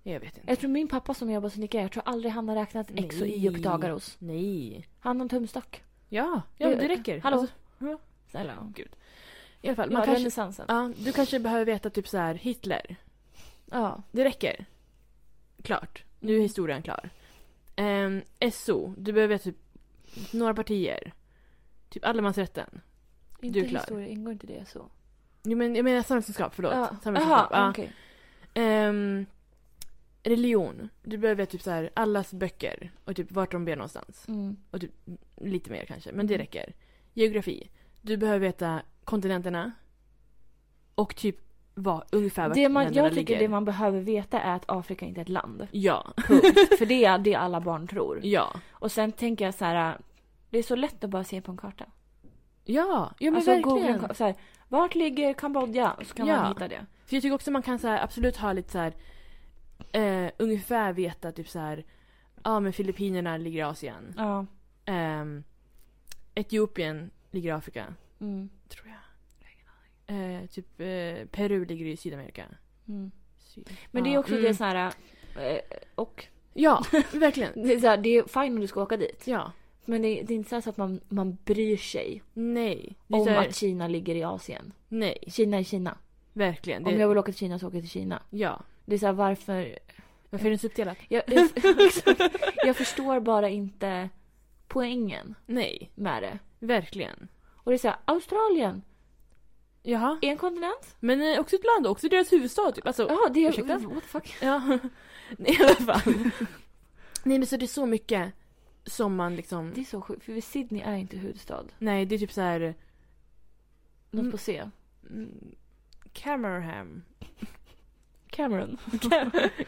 Speaker 2: Jag vet inte.
Speaker 1: Jag tror min pappa som jobbar som snickare, jag tror aldrig han har räknat X och
Speaker 2: Nej.
Speaker 1: Y-uppdagar hos.
Speaker 2: Nej.
Speaker 1: Han har en tumstock.
Speaker 2: Ja, ja
Speaker 1: Det-
Speaker 2: det räcker.
Speaker 1: Hallå?
Speaker 2: Alltså,
Speaker 1: Snälla.
Speaker 2: gud. I alla fall,
Speaker 1: Ja,
Speaker 2: man kanske,
Speaker 1: renässansen.
Speaker 2: ja, du kanske behöver veta typ så här Hitler.
Speaker 1: Ja.
Speaker 2: Det räcker. Klart. Nu är historien klar. Ehm, SO, du behöver veta typ några partier. Typ allemansrätten.
Speaker 1: Inte
Speaker 2: är klar.
Speaker 1: historia, ingår inte det så?
Speaker 2: Jo, men, jag menar samhällskunskap, förlåt.
Speaker 1: Ja.
Speaker 2: Samhällskunskap. ja.
Speaker 1: okej.
Speaker 2: Ehm, religion. Du behöver veta typ så här allas böcker och typ vart de ber någonstans.
Speaker 1: Mm.
Speaker 2: Och typ lite mer kanske, men det
Speaker 1: Mm.
Speaker 2: räcker. Geografi. Du behöver veta kontinenterna. Och typ vad ungefär vart
Speaker 1: Det man,
Speaker 2: länderna
Speaker 1: jag tycker
Speaker 2: ligger.
Speaker 1: det man behöver veta är att Afrika inte är ett land.
Speaker 2: Ja,
Speaker 1: Punkt. För det är det alla barn tror.
Speaker 2: ja.
Speaker 1: Och sen tänker jag så här. Det är så lätt att bara se på en karta.
Speaker 2: Ja, ja men
Speaker 1: alltså googla en
Speaker 2: verkligen.
Speaker 1: karta. Så här, vart ligger Kambodja? Och så kan
Speaker 2: Ja.
Speaker 1: man hitta det.
Speaker 2: För jag tycker också man kan så här, absolut ha lite så här eh, ungefär veta typ så här ja men Filippinerna ligger i Asien.
Speaker 1: Ja.
Speaker 2: Ehm, Etiopien ligger i Afrika.
Speaker 1: Mm.
Speaker 2: Tror jag. Eh, typ eh, Peru ligger i Sydamerika.
Speaker 1: Mm.
Speaker 2: Syd-
Speaker 1: Men det är
Speaker 2: Ja,
Speaker 1: också
Speaker 2: mm.
Speaker 1: det så här. eh, Och
Speaker 2: Ja, verkligen.
Speaker 1: det är, så här, det är fine om du ska åka dit.
Speaker 2: Ja.
Speaker 1: Men det, det är inte så, här så att man, man bryr sig
Speaker 2: Nej. Det är
Speaker 1: om
Speaker 2: så här,
Speaker 1: att Kina ligger i Asien.
Speaker 2: Nej,
Speaker 1: Kina är Kina.
Speaker 2: verkligen. Det,
Speaker 1: Om jag vill åka till Kina så åker jag till Kina.
Speaker 2: Ja.
Speaker 1: Det är så här, varför
Speaker 2: Varför är det så uppdelat?
Speaker 1: Jag, jag, exakt. jag förstår bara inte poängen
Speaker 2: Nej,
Speaker 1: med det.
Speaker 2: verkligen.
Speaker 1: Och det är såhär, Australien,
Speaker 2: Jaha.
Speaker 1: en kontinent?
Speaker 2: Men eh, också ett land, också deras huvudstad typ. Alltså,
Speaker 1: Ja, det är...
Speaker 2: Ursäkta?
Speaker 1: What the fuck?
Speaker 2: Ja, Nej, i alla fall. Nej men så det är så mycket som man liksom...
Speaker 1: Det är så sjukt, för Sydney är inte huvudstad.
Speaker 2: Nej det är typ så här...
Speaker 1: Något
Speaker 2: Mm.
Speaker 1: på C.
Speaker 2: mm, Camerham.
Speaker 1: Cameron.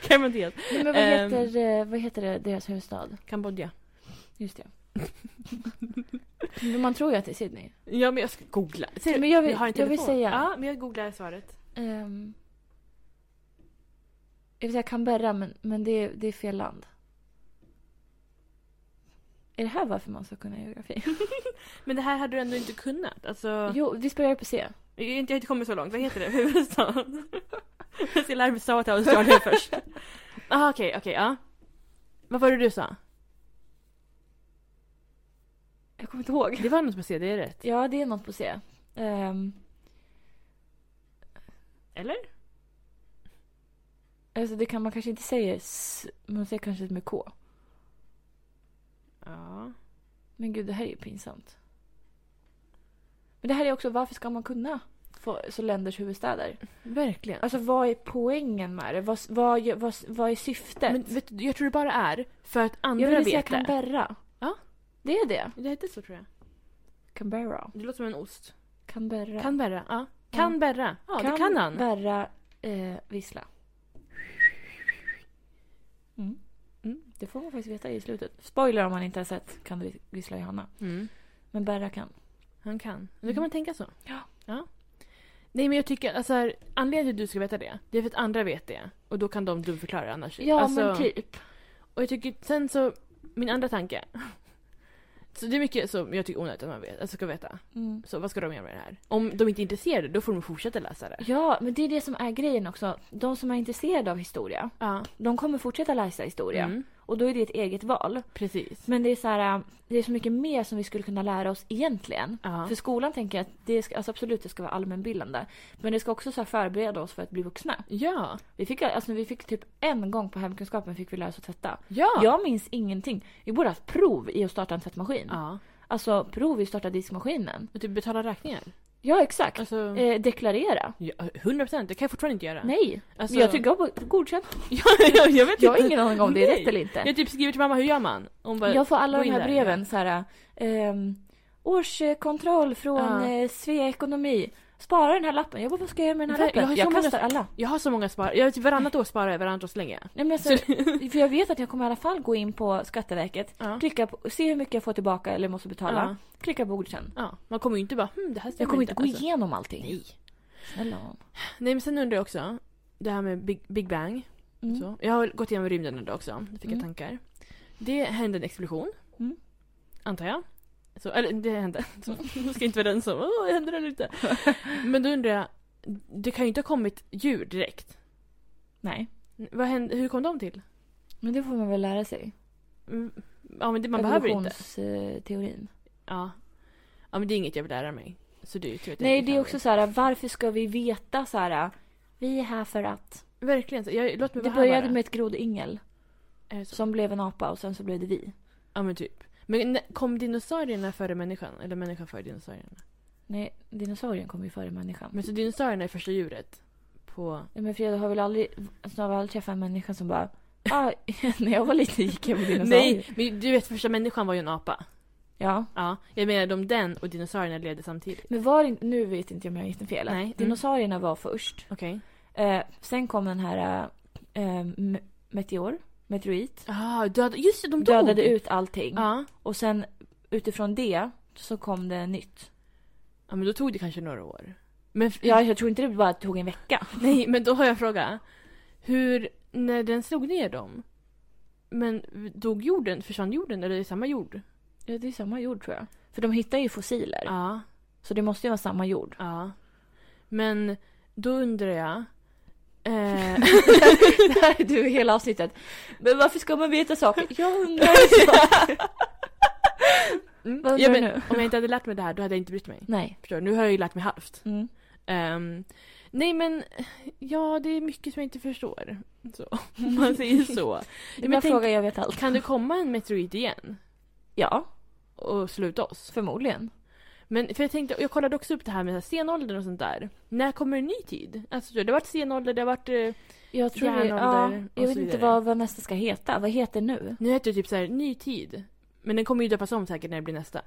Speaker 2: Cameron Diaz.
Speaker 1: Nej, men vad
Speaker 2: Ehm.
Speaker 1: heter, eh, vad heter det, deras huvudstad?
Speaker 2: Kambodja.
Speaker 1: Just det. men man tror ju att det är Sydney.
Speaker 2: Ja men jag ska googla. Ser du?
Speaker 1: Men jag vill-
Speaker 2: har en
Speaker 1: jag vill
Speaker 2: telefon.
Speaker 1: säga-
Speaker 2: Ja men jag googlar svaret.
Speaker 1: Ehm, jag vill säga Canberra, men, men det, är, det är fel land. Är det här varför man ska kunna geografi?
Speaker 2: Men det här hade du ändå inte kunnat. Alltså,
Speaker 1: Jo, vi börjar på C.
Speaker 2: jag har inte jag har inte kommit så långt. Vad heter det? Huvudstaden? jag ska lära mig stava till Australien först. Ah, okej, okej, ja. Vad var det du sa?
Speaker 1: Jag kommer inte ihåg.
Speaker 2: Det var något på C, det är rätt.
Speaker 1: Ja, det är något på C. Um,
Speaker 2: Eller?
Speaker 1: alltså det kan man kanske inte säga s, man säger kanske med K.
Speaker 2: Ja.
Speaker 1: Men gud, det här är ju pinsamt. Men det här är också, varför ska man kunna få, så länders huvudstäder?
Speaker 2: Verkligen.
Speaker 1: Alltså vad är poängen med det? Vad, vad, gör- vad, vad är syftet?
Speaker 2: Men vet du, jag tror det bara är för att andra
Speaker 1: jag vill säga
Speaker 2: vet det.
Speaker 1: Canberra.
Speaker 2: Ja.
Speaker 1: Det är det.
Speaker 2: Det heter så tror jag.
Speaker 1: Canberra.
Speaker 2: Det låter som en ost.
Speaker 1: Canberra.
Speaker 2: Canberra. Ja. Canberra. Ja, det kan han.
Speaker 1: Canberra eh, vissla. Mm.
Speaker 2: Mm.
Speaker 1: Det får man faktiskt veta i slutet. Spoiler om man inte har sett Kan du vissla Johanna.
Speaker 2: Mm.
Speaker 1: Men Berra kan.
Speaker 2: Han kan. Då
Speaker 1: Mm.
Speaker 2: kan man tänka så.
Speaker 1: Ja.
Speaker 2: ja. Nej men jag tycker, alltså här, anledningen till att du ska veta det, det är för att andra vet det. Och då kan de dumförklara annars.
Speaker 1: Ja,
Speaker 2: alltså,
Speaker 1: men typ.
Speaker 2: Och jag tycker sen så, min andra tanke. Så det är mycket som jag tycker är onödigt att man vet, alltså ska veta.
Speaker 1: Mm.
Speaker 2: Så vad ska de göra med det här? Om de inte är intresserade, då får de fortsätta läsa det.
Speaker 1: Ja, men det är det som är grejen också. De som är intresserade av historia,
Speaker 2: Ja.
Speaker 1: de kommer fortsätta läsa historia.
Speaker 2: Mm.
Speaker 1: Och då är det ett eget val.
Speaker 2: Precis.
Speaker 1: Men det är så här, äh, det är så mycket mer som vi skulle kunna lära oss egentligen.
Speaker 2: Ja.
Speaker 1: För skolan tänker jag att det ska, alltså absolut det ska vara allmänbildande. Men det ska också så här förbereda oss för att bli vuxna.
Speaker 2: Ja.
Speaker 1: Vi fick, alltså, vi fick typ en gång på hemkunskapen fick vi lära oss att tvätta.
Speaker 2: Ja.
Speaker 1: Jag minns ingenting. Vi borde haft prov i att starta en tvättmaskin.
Speaker 2: Ja.
Speaker 1: Alltså prov i att starta diskmaskinen.
Speaker 2: Och typ betala räkningar.
Speaker 1: Ja, exakt.
Speaker 2: Alltså,
Speaker 1: Eh, deklarera.
Speaker 2: ja, 100% det kan jag fortfarande inte göra.
Speaker 1: Nej.
Speaker 2: Alltså,
Speaker 1: Men jag tycker jag godkänt.
Speaker 2: ja, jag, jag vet
Speaker 1: Jag har
Speaker 2: inte.
Speaker 1: ingen aning om det är
Speaker 2: Nej.
Speaker 1: rätt eller inte.
Speaker 2: Jag typ skriver till mamma, hur gör man? Hon bara,
Speaker 1: Jag får alla
Speaker 2: gå
Speaker 1: de
Speaker 2: in
Speaker 1: här
Speaker 2: där,
Speaker 1: breven så här. ehm, årskontroll från
Speaker 2: Ja.
Speaker 1: eh, Svea Ekonomi. Spara den här lappen. Jag bara, vad ska jag göra med den här
Speaker 2: Jag-
Speaker 1: lappen?
Speaker 2: jag har
Speaker 1: Jag,
Speaker 2: så många-
Speaker 1: kastar alla.
Speaker 2: Jag har så många spar... Jag, typ varannat år sparar jag, varannat år slänger jag.
Speaker 1: Nej, men alltså, för jag vet att jag kommer i alla fall gå in på Skatteverket,
Speaker 2: Ja.
Speaker 1: klicka på, se hur mycket jag får tillbaka eller måste betala,
Speaker 2: Ja.
Speaker 1: klicka på godkänn.
Speaker 2: Ja, man kommer ju inte bara hm, det här stämmer
Speaker 1: Jag kommer inte gå
Speaker 2: alltså.
Speaker 1: igenom allting.
Speaker 2: Nej.
Speaker 1: Snälla nån.
Speaker 2: Nej men sen undrar jag också, det här med Big, Big Bang.
Speaker 1: Mm.
Speaker 2: Så. Jag har gått igenom rymden idag också, det fick
Speaker 1: Mm.
Speaker 2: jag tankar. Det hände en explosion.
Speaker 1: Mm.
Speaker 2: Antar jag. Så, eller det hände. Så. Nu ska jag inte vara den som Åh, hände det eller inte? men då undrar jag, det kan ju inte ha kommit djur direkt.
Speaker 1: Nej,
Speaker 2: Vad hände, hur kom de till?
Speaker 1: men det får man väl lära sig.
Speaker 2: Mm, Ja men det, man behöver inte.
Speaker 1: Evolutionsteorin.
Speaker 2: Ja. ja men det är inget jag vill lära mig. Så det är ju tur att jag
Speaker 1: Nej,
Speaker 2: inte
Speaker 1: det är
Speaker 2: kan
Speaker 1: också så här, varför ska vi veta så här, vi är här för att.
Speaker 2: Verkligen. så. Jag, låt mig
Speaker 1: Det
Speaker 2: vara här
Speaker 1: började
Speaker 2: bara.
Speaker 1: med ett grodyngel
Speaker 2: Är det så?
Speaker 1: som blev en apa och sen så blev det vi.
Speaker 2: Ja men typ. Men när- kom dinosaurierna före människan? Eller människan före dinosaurierna?
Speaker 1: Nej, dinosaurien kom ju före människan.
Speaker 2: Men så dinosaurierna är första djuret på...
Speaker 1: Ja, men Freda har väl aldrig, alltså, har väl aldrig träffat en människa som bara ah, när jag var liten gick jag på dinosaurier.
Speaker 2: Nej, men du vet första människan var ju en apa.
Speaker 1: Ja.
Speaker 2: Ja, jag menar om den och dinosaurierna levde samtidigt.
Speaker 1: Men var det, nu vet inte jag om jag gissar fel.
Speaker 2: Nej, mm.
Speaker 1: att Dinosaurierna var först.
Speaker 2: Okej.
Speaker 1: Eh, sen kom den här eh, m- meteor, meteorit.
Speaker 2: Ah, döda... Just det, de dog!
Speaker 1: Dödade ut allting.
Speaker 2: Ja.
Speaker 1: Och sen utifrån det så kom det nytt.
Speaker 2: ja, men då tog det kanske några år. Men, f-
Speaker 1: Ja, jag tror inte det bara tog en vecka.
Speaker 2: Nej, men då har jag en fråga. Hur, när den slog ner dem, men dog jorden, försvann jorden eller är det samma jord?
Speaker 1: Ja, det är samma jord tror jag. För de hittar ju fossiler.
Speaker 2: Ja.
Speaker 1: Så det måste ju vara samma jord.
Speaker 2: Ja. Men då undrar jag... Eh,
Speaker 1: det här är du hela avsnittet. Men varför ska man veta saker? Jag undrar. Vad
Speaker 2: ja,
Speaker 1: undrar
Speaker 2: men,
Speaker 1: du nu?
Speaker 2: om jag inte hade lärt mig det här då hade jag inte brytt mig.
Speaker 1: Nej.
Speaker 2: Förstår du? Nu har jag ju lärt mig halvt.
Speaker 1: Mm.
Speaker 2: Ehm, nej men, ja det är mycket som jag inte förstår. Så, om man säger så.
Speaker 1: Det är
Speaker 2: men
Speaker 1: bara
Speaker 2: tänk-
Speaker 1: fråga, jag vet allt.
Speaker 2: Kan det komma en meteorit igen
Speaker 1: Ja,
Speaker 2: och sluta oss?
Speaker 1: förmodligen.
Speaker 2: Men för jag tänkte, jag kollade också upp det här med så här stenåldern och sånt där. När kommer en ny tid? Alltså det har varit stenålder, det har varit... Eh,
Speaker 1: Jag tror det, ja,
Speaker 2: Järnålder och
Speaker 1: Jag vet
Speaker 2: så
Speaker 1: inte
Speaker 2: vidare.
Speaker 1: vad, vad nästa ska heta. Vad heter nu?
Speaker 2: nu heter det typ så här ny tid. Men den kommer ju döpas om säkert när det blir nästa.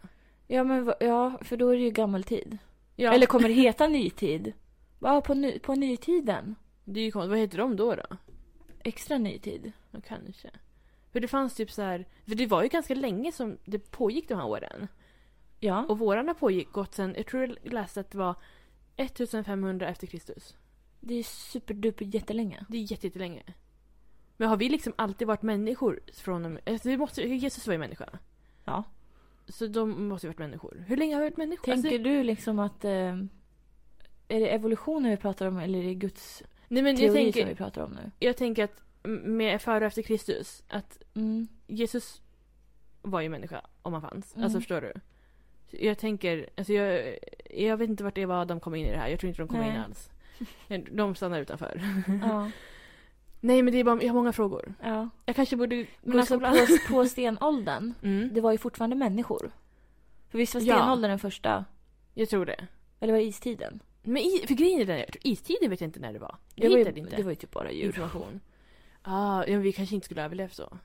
Speaker 1: Ja, men, va- ja, för då är det ju gammaltid.
Speaker 2: Ja.
Speaker 1: Eller kommer det heta nytid? Ja, på, ny, på nytiden.
Speaker 2: Det är ju konstigt. Vad heter de då? då?
Speaker 1: Extra nytid.
Speaker 2: Ja, kanske. För det fanns typ så här... För det var ju ganska länge som det pågick de här åren.
Speaker 1: Ja.
Speaker 2: Och vårarna pågick gått sen... Jag tror jag läste att det var 1500 efter Kristus.
Speaker 1: Det är superduper jättelänge.
Speaker 2: Det är jätte- jättelänge. Men har vi liksom alltid varit människor från och med... Alltså det måste, Jesus var ju människa.
Speaker 1: Ja.
Speaker 2: Så de måste ju varit människor. Hur länge har vi varit människor?
Speaker 1: Tänker
Speaker 2: alltså,
Speaker 1: du liksom att... Eh, är det evolutionen vi pratar om eller är det Guds
Speaker 2: nej men
Speaker 1: teori
Speaker 2: jag
Speaker 1: som vi
Speaker 2: tänker,
Speaker 1: pratar om nu?
Speaker 2: jag tänker att m- med före och efter Kristus, att
Speaker 1: Mm.
Speaker 2: Jesus var ju människa om han fanns.
Speaker 1: Mm.
Speaker 2: Alltså förstår du? Så Jag tänker, alltså jag, jag vet inte vart Eva och Adam kom in i det här. Jag tror inte de kom
Speaker 1: Nej.
Speaker 2: in alls. De stannar utanför.
Speaker 1: Ja.
Speaker 2: Nej men det är bara, jag har många frågor.
Speaker 1: ja.
Speaker 2: Jag kanske borde
Speaker 1: Men
Speaker 2: gå
Speaker 1: alltså
Speaker 2: skolan.
Speaker 1: på, på stenåldern,
Speaker 2: Mm,
Speaker 1: det var ju fortfarande människor. För visst var
Speaker 2: Ja.
Speaker 1: stenåldern den första?
Speaker 2: jag tror det.
Speaker 1: Eller var det istiden?
Speaker 2: Men i, för grejen är den, jag tror- istiden vet jag inte när det var. Jag
Speaker 1: Det var, ju,
Speaker 2: hittade inte
Speaker 1: det var ju typ bara djur.
Speaker 2: information. Ah, ja, men vi kanske inte skulle ha överlevt så.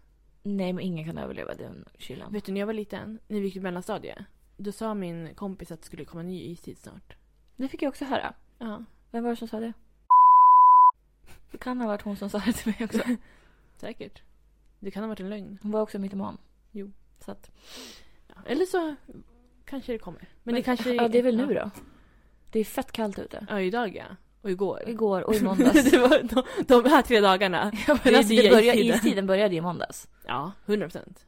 Speaker 1: Nej, men ingen kan överleva den kylan.
Speaker 2: Vet du när jag var liten, när vi gick i mellanstadiet. Då sa min kompis att det skulle komma en ny istid snart.
Speaker 1: Det fick jag också höra.
Speaker 2: Ja,
Speaker 1: Vem var det som sa det? Det kan ha varit hon som sa det till mig också.
Speaker 2: säkert. Det kan ha varit en lögn.
Speaker 1: Hon var också mytoman.
Speaker 2: Jo.
Speaker 1: Så att,
Speaker 2: Ja, Eller så kanske det kommer. Men, det kanske...
Speaker 1: ja, det är väl nu då. Det är fett kallt ute.
Speaker 2: Ja, idag ja. Och igår.
Speaker 1: Igår och i måndags.
Speaker 2: det var de, de här tre dagarna.
Speaker 1: Ja, men alltså,
Speaker 2: Det
Speaker 1: det
Speaker 2: är
Speaker 1: började,
Speaker 2: istiden.
Speaker 1: istiden började ju i måndags.
Speaker 2: Ja, 100 procent.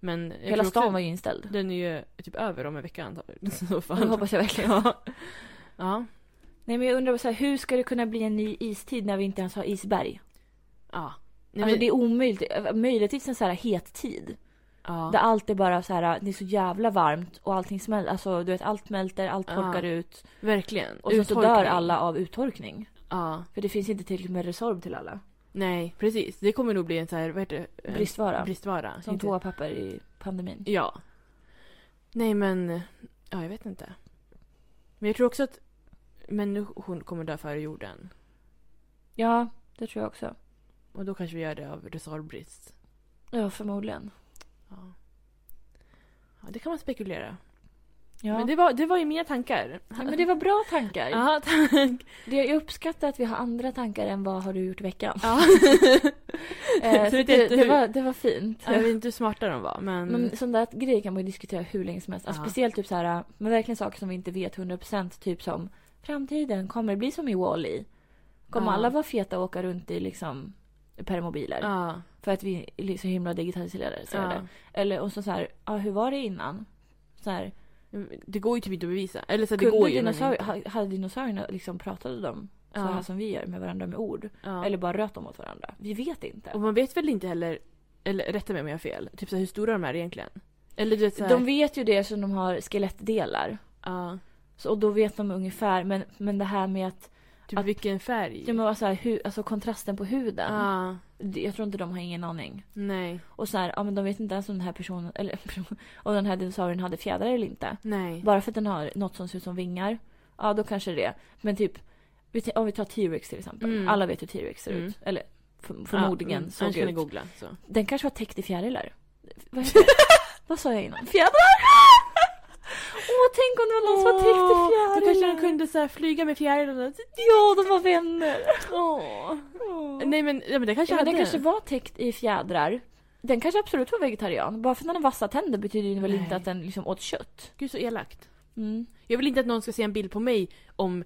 Speaker 2: Men jag
Speaker 1: Hela
Speaker 2: tror också-
Speaker 1: stan var ju inställd.
Speaker 2: Den är ju typ över om en vecka antagligen. Så
Speaker 1: Det
Speaker 2: fan.
Speaker 1: hoppas jag verkligen.
Speaker 2: Ja. ja.
Speaker 1: Nej, men jag undrar så här, hur ska det kunna bli en ny istid när vi inte ens har isberg?
Speaker 2: ja. Nej,
Speaker 1: alltså
Speaker 2: men-
Speaker 1: det är omöjligt. Möjligtvis en så här het tid.
Speaker 2: ja.
Speaker 1: Där allt är bara så här, eh, det är så jävla varmt och allting smälter. Alltså du vet allt smälter, allt
Speaker 2: Ja.
Speaker 1: torkar ut.
Speaker 2: Verkligen.
Speaker 1: Och sen så
Speaker 2: Uttorkning.
Speaker 1: dör alla av uttorkning.
Speaker 2: Ja.
Speaker 1: För det finns inte tillräckligt med Resorb till alla.
Speaker 2: Nej, precis. Det kommer nog bli en så här, vad heter det? En
Speaker 1: Bristvara.
Speaker 2: Bristvara.
Speaker 1: Som
Speaker 2: Inte-
Speaker 1: toapapper i pandemin.
Speaker 2: Ja. Nej men, ja jag vet inte. Men jag tror också att människor kommer dö före jorden.
Speaker 1: Ja, det tror jag också.
Speaker 2: Och då kanske vi gör det av resortbrist.
Speaker 1: Ja, förmodligen.
Speaker 2: Ja. ja, det kan man spekulera.
Speaker 1: Ja.
Speaker 2: Men det var, det var ju mina tankar.
Speaker 1: ja, men det var bra tankar.
Speaker 2: Ja, tack.
Speaker 1: Det, jag uppskattar att vi har andra tankar än vad har du gjort i veckan.
Speaker 2: Ja.
Speaker 1: Eh,
Speaker 2: Så
Speaker 1: så
Speaker 2: vet jag
Speaker 1: det,
Speaker 2: inte
Speaker 1: det,
Speaker 2: hur.
Speaker 1: var, det var fint.
Speaker 2: Jag vet inte hur smarta de var, men...
Speaker 1: Men sån där grej kan man ju diskutera hur länge som helst. Alltså,
Speaker 2: Mm. Ja.
Speaker 1: speciellt typ så här, men verkligen saker som vi inte vet 100% typ som framtiden, kommer det bli som i Wall-E? Kommer
Speaker 2: Ja.
Speaker 1: alla vara feta och åka runt i liksom permobiler?
Speaker 2: ja,
Speaker 1: För att vi är så himla digitaliserade. Så är
Speaker 2: ja.
Speaker 1: det. Eller och så, så här, ja, hur var det innan? Så här,
Speaker 2: Det går ju typ inte att bevisa. Eller så det
Speaker 1: kunde
Speaker 2: går ju. men
Speaker 1: dinosaurier,
Speaker 2: inte.
Speaker 1: ha- hade dinosaurierna liksom pratade de så här
Speaker 2: Ja.
Speaker 1: som vi gör med varandra med ord?
Speaker 2: Ja.
Speaker 1: Eller bara röt de åt varandra? Vi vet inte.
Speaker 2: Och man vet väl inte heller, eller rätta mig om jag har fel, typ så här, hur stora de är egentligen? Eller du vet så här,
Speaker 1: De vet ju det som de har skelettdelar.
Speaker 2: ja,
Speaker 1: Så, och då vet de ungefär, men, men det här med att
Speaker 2: typ
Speaker 1: att-
Speaker 2: vilken färg?
Speaker 1: Ja, men vad så här, hu- alltså kontrasten på huden.
Speaker 2: Ja,
Speaker 1: Det- Jag tror inte de har ingen aning.
Speaker 2: nej,
Speaker 1: Och så här, ja, men de vet inte ens om den här personen, eller person- om den här dinosaurien hade fjädrar eller inte.
Speaker 2: nej.
Speaker 1: Bara för att den har något som ser ut som vingar, ja då kanske det. Men typ, vi t- om vi tar T-Rex till exempel.
Speaker 2: Mm.
Speaker 1: Alla vet hur T-Rex ser
Speaker 2: Mm.
Speaker 1: ut. Eller för- förmodligen
Speaker 2: ja, mm.
Speaker 1: såg
Speaker 2: ut. kan
Speaker 1: ut.
Speaker 2: ni googla. Så.
Speaker 1: Den kanske var täckt i fjärilar. Vad, heter det? vad sa jag innan? Fjädrar! Åh, tänk om det var någon som var täckt i
Speaker 2: Åh,
Speaker 1: fjärilar.
Speaker 2: Då kanske de kunde så här, flyga med fjärilarna.
Speaker 1: Ja, de var vänner.
Speaker 2: Åh.
Speaker 1: Åh.
Speaker 2: Nej men, ja, men det kanske
Speaker 1: Ja, men
Speaker 2: hade...
Speaker 1: den kanske var täckt i fjädrar. Den kanske absolut var vegetarian. Bara för att den har vassa tänder betyder ju väl
Speaker 2: Nej.
Speaker 1: inte att den liksom åt kött.
Speaker 2: Gud så elakt.
Speaker 1: Mm.
Speaker 2: Jag vill inte att någon ska se en bild på mig om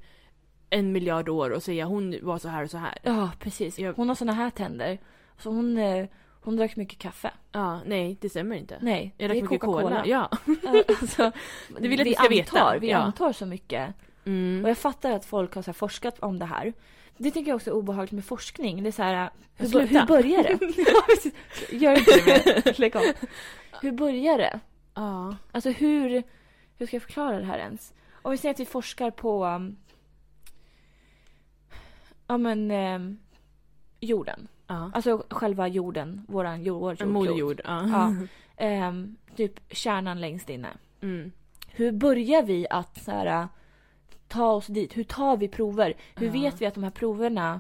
Speaker 2: en miljard år och säga hon var så här och så här.
Speaker 1: Ja, precis.
Speaker 2: Jag-
Speaker 1: Hon har såna här tänder. Så hon, eh, hon drack mycket kaffe.
Speaker 2: Ja, nej det stämmer inte.
Speaker 1: Nej,
Speaker 2: jag drack mycket cola. Ja.
Speaker 1: Ja, alltså,
Speaker 2: Det vill jag att ni ska
Speaker 1: antar,
Speaker 2: veta.
Speaker 1: Vi
Speaker 2: Ja.
Speaker 1: antar så mycket.
Speaker 2: Mm.
Speaker 1: Och jag fattar att folk har så här forskat om det här. Det tycker jag också är obehagligt med forskning. Det är så här, eh, hur, bo-
Speaker 2: Sluta.
Speaker 1: hur börjar det? Ja, precis. Gör inte det. men Lägg av. Hur börjar det?
Speaker 2: Ja.
Speaker 1: Alltså hur, hur ska jag förklara det här ens? Om vi säger att vi forskar på um, ja men ehm, jorden.
Speaker 2: Ja.
Speaker 1: Alltså själva jorden, våran jord, vårt
Speaker 2: En
Speaker 1: jordklot.
Speaker 2: moderjord. Ja.
Speaker 1: Ja. Ehm, typ kärnan längst inne.
Speaker 2: Mm.
Speaker 1: Hur börjar vi att så här, uh, ta oss dit? Hur tar vi prover? Hur
Speaker 2: Ja.
Speaker 1: vet vi att de här proverna,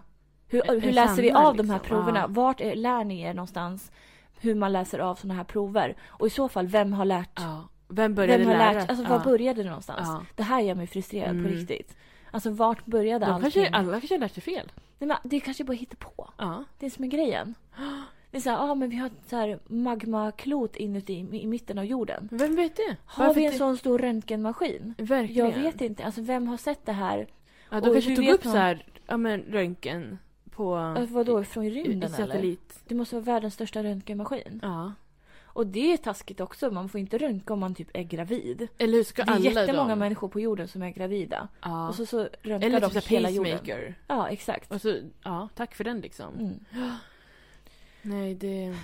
Speaker 2: Är-
Speaker 1: hur,
Speaker 2: är
Speaker 1: hur läser vi
Speaker 2: sanna,
Speaker 1: av de här
Speaker 2: liksom?
Speaker 1: proverna?
Speaker 2: Ja.
Speaker 1: Vart är, lär ni er någonstans hur man läser av sådana här prover? Och i så fall, vem har lärt
Speaker 2: Ja. Vem började
Speaker 1: Vem har
Speaker 2: lära?
Speaker 1: lärt, alltså
Speaker 2: Ja.
Speaker 1: var började alltså, det någonstans?
Speaker 2: Ja.
Speaker 1: Det här gör mig frustrerad
Speaker 2: Mm.
Speaker 1: på riktigt. Alltså vart började
Speaker 2: De
Speaker 1: allting?
Speaker 2: kanske, alla kanske har lärt sig fel.
Speaker 1: Nej, men det är kanske bara hittar på.
Speaker 2: Ja.
Speaker 1: Det är som är grejen. Det är såhär, ja ah, men vi har ett så här magmaklot inuti i mitten av jorden.
Speaker 2: Men Vem vet det?
Speaker 1: Har
Speaker 2: Varför
Speaker 1: vi en
Speaker 2: det-
Speaker 1: sån stor röntgenmaskin?
Speaker 2: Verkligen.
Speaker 1: Jag vet inte, alltså vem har sett det här?
Speaker 2: Ja, de
Speaker 1: Och
Speaker 2: kanske
Speaker 1: hur
Speaker 2: tog
Speaker 1: vet
Speaker 2: upp
Speaker 1: man-
Speaker 2: så här, ja men röntgen på...
Speaker 1: Alltså, vadå, från
Speaker 2: i- i
Speaker 1: rymden eller?
Speaker 2: satellit.
Speaker 1: Det måste vara världens största röntgenmaskin.
Speaker 2: Ja.
Speaker 1: Och det är taskigt också, man får inte röntga om man typ är gravid.
Speaker 2: Eller hur ska
Speaker 1: Det är
Speaker 2: alla
Speaker 1: jättemånga
Speaker 2: de...
Speaker 1: människor på jorden som är gravida.
Speaker 2: Ja.
Speaker 1: Och så, så röntgar
Speaker 2: eller
Speaker 1: de
Speaker 2: typ så här
Speaker 1: hela jorden.
Speaker 2: pacemaker.
Speaker 1: Ja, exakt.
Speaker 2: Och så, ja, tack för den liksom.
Speaker 1: Mm.
Speaker 2: Nej, det...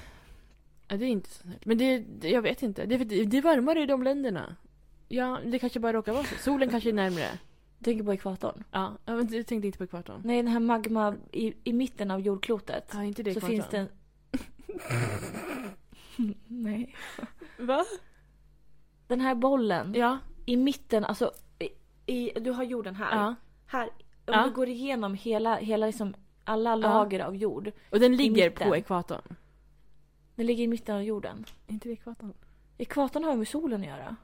Speaker 2: Ja, det är inte så snällt. Men det, det, jag vet inte. Det, är för- det, det är varmare i de länderna. Ja, det kanske bara råkar vara så. Solen kanske är närmre.
Speaker 1: Du tänker på ekvatorn?
Speaker 2: Ja, ja, men jag tänkte inte på ekvatorn.
Speaker 1: Nej, den här magma i, i mitten av jordklotet.
Speaker 2: Ja, inte det
Speaker 1: så
Speaker 2: ekvatorn.
Speaker 1: finns det en... Nej.
Speaker 2: Va?
Speaker 1: Den här bollen
Speaker 2: Ja.
Speaker 1: i mitten, alltså... I, i, du har jorden här.
Speaker 2: ja.
Speaker 1: Här. Om
Speaker 2: Ja.
Speaker 1: du går igenom hela, hela liksom, alla lager av jord.
Speaker 2: Och den ligger
Speaker 1: mitten.
Speaker 2: på ekvatorn.
Speaker 1: Den ligger i mitten av jorden.
Speaker 2: inte det ekvatorn?
Speaker 1: Ekvatorn har ju med solen att göra.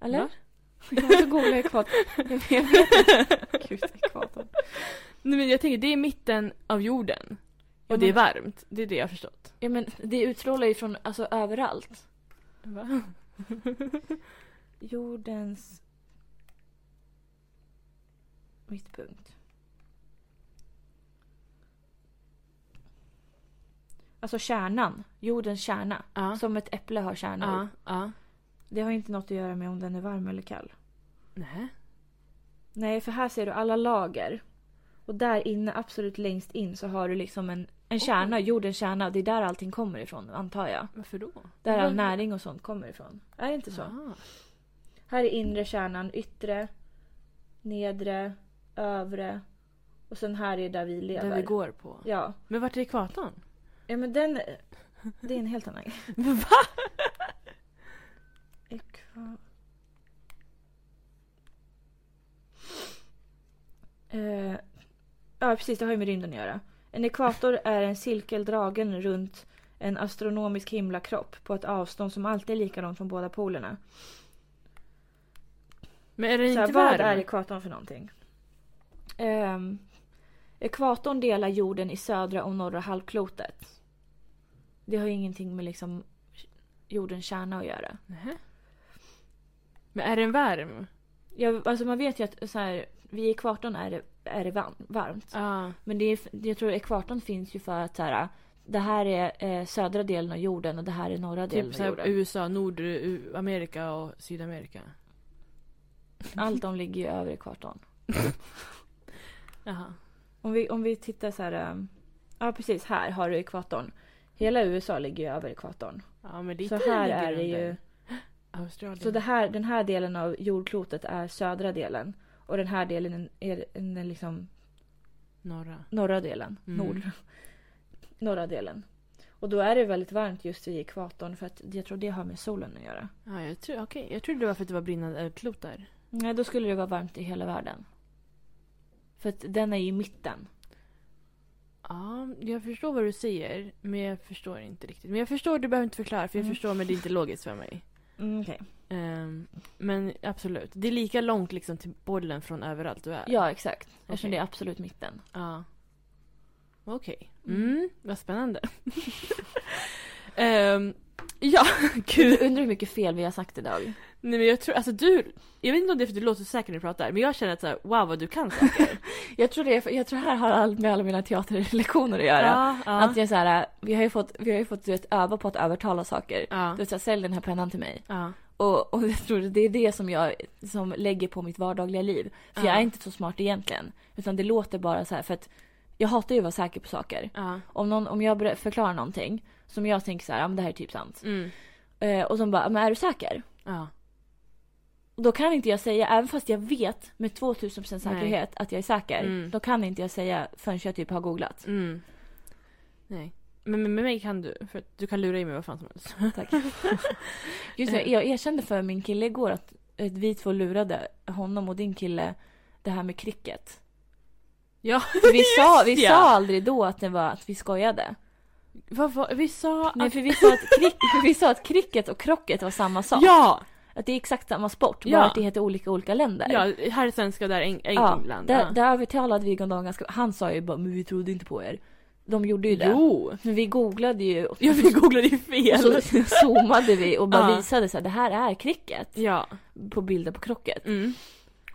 Speaker 1: Eller?
Speaker 2: Va?
Speaker 1: Jag måste googla ekvatorn. Jag vet inte. Gud, ekvatorn.
Speaker 2: Nej, men jag tänker, det är mitten av jorden. Och
Speaker 1: Ja,
Speaker 2: det är
Speaker 1: men-
Speaker 2: varmt. Det är det jag har förstått.
Speaker 1: Ja, men det utstrålar ju från alltså, överallt.
Speaker 2: Va?
Speaker 1: Jordens mittpunkt. Alltså kärnan, jordens kärna.
Speaker 2: Ja.
Speaker 1: Som ett äpple har kärnor.
Speaker 2: Ja. ja.
Speaker 1: Det har ju inte något att göra med om den är varm eller kall.
Speaker 2: Nej.
Speaker 1: Nej, för här ser du alla lager. Och där inne, absolut längst in, så har du liksom en, en kärna, jordens kärna. Det är där allting kommer ifrån, antar jag.
Speaker 2: Varför då?
Speaker 1: Där all
Speaker 2: Var- Ah,
Speaker 1: näring och sånt kommer ifrån. Är det inte så?
Speaker 2: Ja.
Speaker 1: Här är inre kärnan, yttre, nedre, övre. Och sen här är där vi lever.
Speaker 2: Där vi går på.
Speaker 1: Ja.
Speaker 2: Men vart är ekvatorn?
Speaker 1: ja, men den... Det är en helt annan grej.
Speaker 2: Va?
Speaker 1: Ekva... Eh, ja, precis, det har ju med rymden att göra. En ekvator är en cirkel dragen runt en astronomisk himlakropp på ett avstånd som alltid är likadant från båda polerna.
Speaker 2: Men är den
Speaker 1: Så här,
Speaker 2: inte
Speaker 1: vad är
Speaker 2: varm?
Speaker 1: ekvatorn för någonting? Ehm, ekvatorn delar jorden i södra och norra halvklotet. Det har ju ingenting med liksom jordens kärna att göra.
Speaker 2: Nähä. Men är den varm?
Speaker 1: Jag, alltså man vet ju att så här, vid ekvatorn är det, är det varm- varmt.
Speaker 2: Ja.
Speaker 1: Men det är, jag tror ekvatorn finns ju för att så här, det här är eh, södra delen av jorden och det här är norra delen
Speaker 2: Typ
Speaker 1: av
Speaker 2: såhär
Speaker 1: jorden.
Speaker 2: USA, Nordamerika och Sydamerika.
Speaker 1: Allt de ligger ju över ekvatorn.
Speaker 2: Jaha.
Speaker 1: Om vi, om vi tittar så här. ehm, Ja precis, här har du ekvatorn. Hela USA ligger ju över ekvatorn.
Speaker 2: Ja men lite
Speaker 1: Så här
Speaker 2: ligger
Speaker 1: är det
Speaker 2: den
Speaker 1: ju.
Speaker 2: där. Australien.
Speaker 1: Så det här, den här delen av jordklotet är södra delen. Och den här delen är den är liksom
Speaker 2: Norra.
Speaker 1: norra delen.
Speaker 2: Mm.
Speaker 1: Nord. Norra delen. Och då är det väldigt varmt just vid ekvatorn för att jag tror det har med solen att göra.
Speaker 2: Ja, jag, tror, okay. jag trodde det var för att det var brinnande eldklot där.
Speaker 1: Nej, då skulle det vara varmt i hela världen. För att den är ju i mitten.
Speaker 2: Ja, jag förstår vad du säger, men jag förstår inte riktigt. Men jag förstår, du behöver inte förklara, för jag
Speaker 1: Mm.
Speaker 2: förstår, men det är inte logiskt för mig.
Speaker 1: Mm,
Speaker 2: Ehm, men absolut, det är lika långt liksom till bollen från överallt du är.
Speaker 1: Ja, exakt. Eftersom
Speaker 2: Okej.
Speaker 1: det är absolut mitten.
Speaker 2: Ja. Okej.
Speaker 1: Mm.
Speaker 2: Mm, vad spännande. Ehm, ja, gud.
Speaker 1: Undrar hur mycket fel vi har sagt idag.
Speaker 2: Nej men jag tror, alltså du, jag vet inte om det är för att du låter så säker när du pratar, men jag känner att så här, wow vad du kan saker.
Speaker 1: Jag tror det, jag tror det här har allt med alla mina teaterlektioner att göra.
Speaker 2: ja.
Speaker 1: Att jag så här, vi har ju fått, vi har ju fått du vet, öva på att övertala saker.
Speaker 2: ja.
Speaker 1: Du vet, så här, sälj den här pennan till mig.
Speaker 2: ja.
Speaker 1: Och, och jag tror det är det som jag som lägger på mitt vardagliga liv. För jag
Speaker 2: Ja.
Speaker 1: är inte så smart egentligen. Utan det låter bara så här för att jag hatar ju att vara säker på saker.
Speaker 2: ja.
Speaker 1: Om, någon, om jag ber- förklarar någonting som jag tänker så här, ja men det här är typ sant.
Speaker 2: Mm.
Speaker 1: Eh, och som bara, men är du säker?
Speaker 2: Ja.
Speaker 1: Och Då kan inte jag säga, även fast jag vet med 2000% säkerhet att jag är säker.
Speaker 2: Mm.
Speaker 1: Då kan inte jag säga förrän jag typ har googlat.
Speaker 2: Mm. Nej. Men men med mig kan du, för att du kan lura i mig vad fan som helst.
Speaker 1: Tack. Just
Speaker 2: Eh.
Speaker 1: det, jag erkände för min kille igår att, att vi två lurade honom och din kille det här med cricket.
Speaker 2: Ja,
Speaker 1: För vi sa, vi
Speaker 2: ja.
Speaker 1: sa aldrig då att det var att vi skojade.
Speaker 2: Vad var, vi sa
Speaker 1: Nej,
Speaker 2: att...
Speaker 1: för vi sa att, krick, vi sa att cricket och krocket var samma sak.
Speaker 2: Ja!
Speaker 1: Att det är exakt samma sport, bara
Speaker 2: Ja.
Speaker 1: att det heter olika i olika länder.
Speaker 2: Ja, här är svenska och där är Eng-
Speaker 1: Ja,
Speaker 2: England.
Speaker 1: där, där övertalade vi honom ganska Han sa ju bara men vi trodde inte på er. De gjorde ju det.
Speaker 2: Jo!
Speaker 1: Men vi googlade ju och
Speaker 2: Ja, vi googlade ju fel.
Speaker 1: så zoomade vi och bara
Speaker 2: Ja.
Speaker 1: visade så här, det här är cricket
Speaker 2: Ja.
Speaker 1: på bilder på krocket.
Speaker 2: Mm.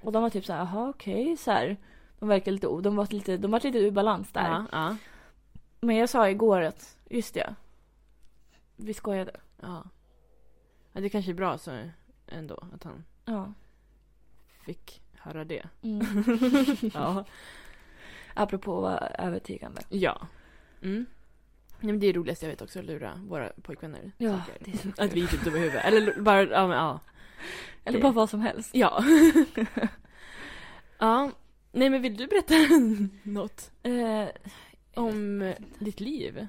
Speaker 1: Och de var typ så här, jaha okej så här. De verkar lite, o- de var lite, de var lite ur balans där.
Speaker 2: Ja, ja.
Speaker 1: Men jag sa igår att, just det. Vi skojade.
Speaker 2: ja. Ja, det kanske är bra så ändå att han
Speaker 1: Ja.
Speaker 2: fick höra det.
Speaker 1: Mm.
Speaker 2: Ja.
Speaker 1: Apropå att vara övertygande.
Speaker 2: ja. Mm. Nej, men det är det roligaste jag vet också, att lura våra pojkvänner.
Speaker 1: Ja,
Speaker 2: saker.
Speaker 1: det är så
Speaker 2: Att vi inte är typ dumma i huvudet. Eller bara, ja men ja.
Speaker 1: Eller
Speaker 2: Det-
Speaker 1: bara vad som helst.
Speaker 2: Ja. ja. Nej men vill du berätta något
Speaker 1: Eh,
Speaker 2: om eh, ditt liv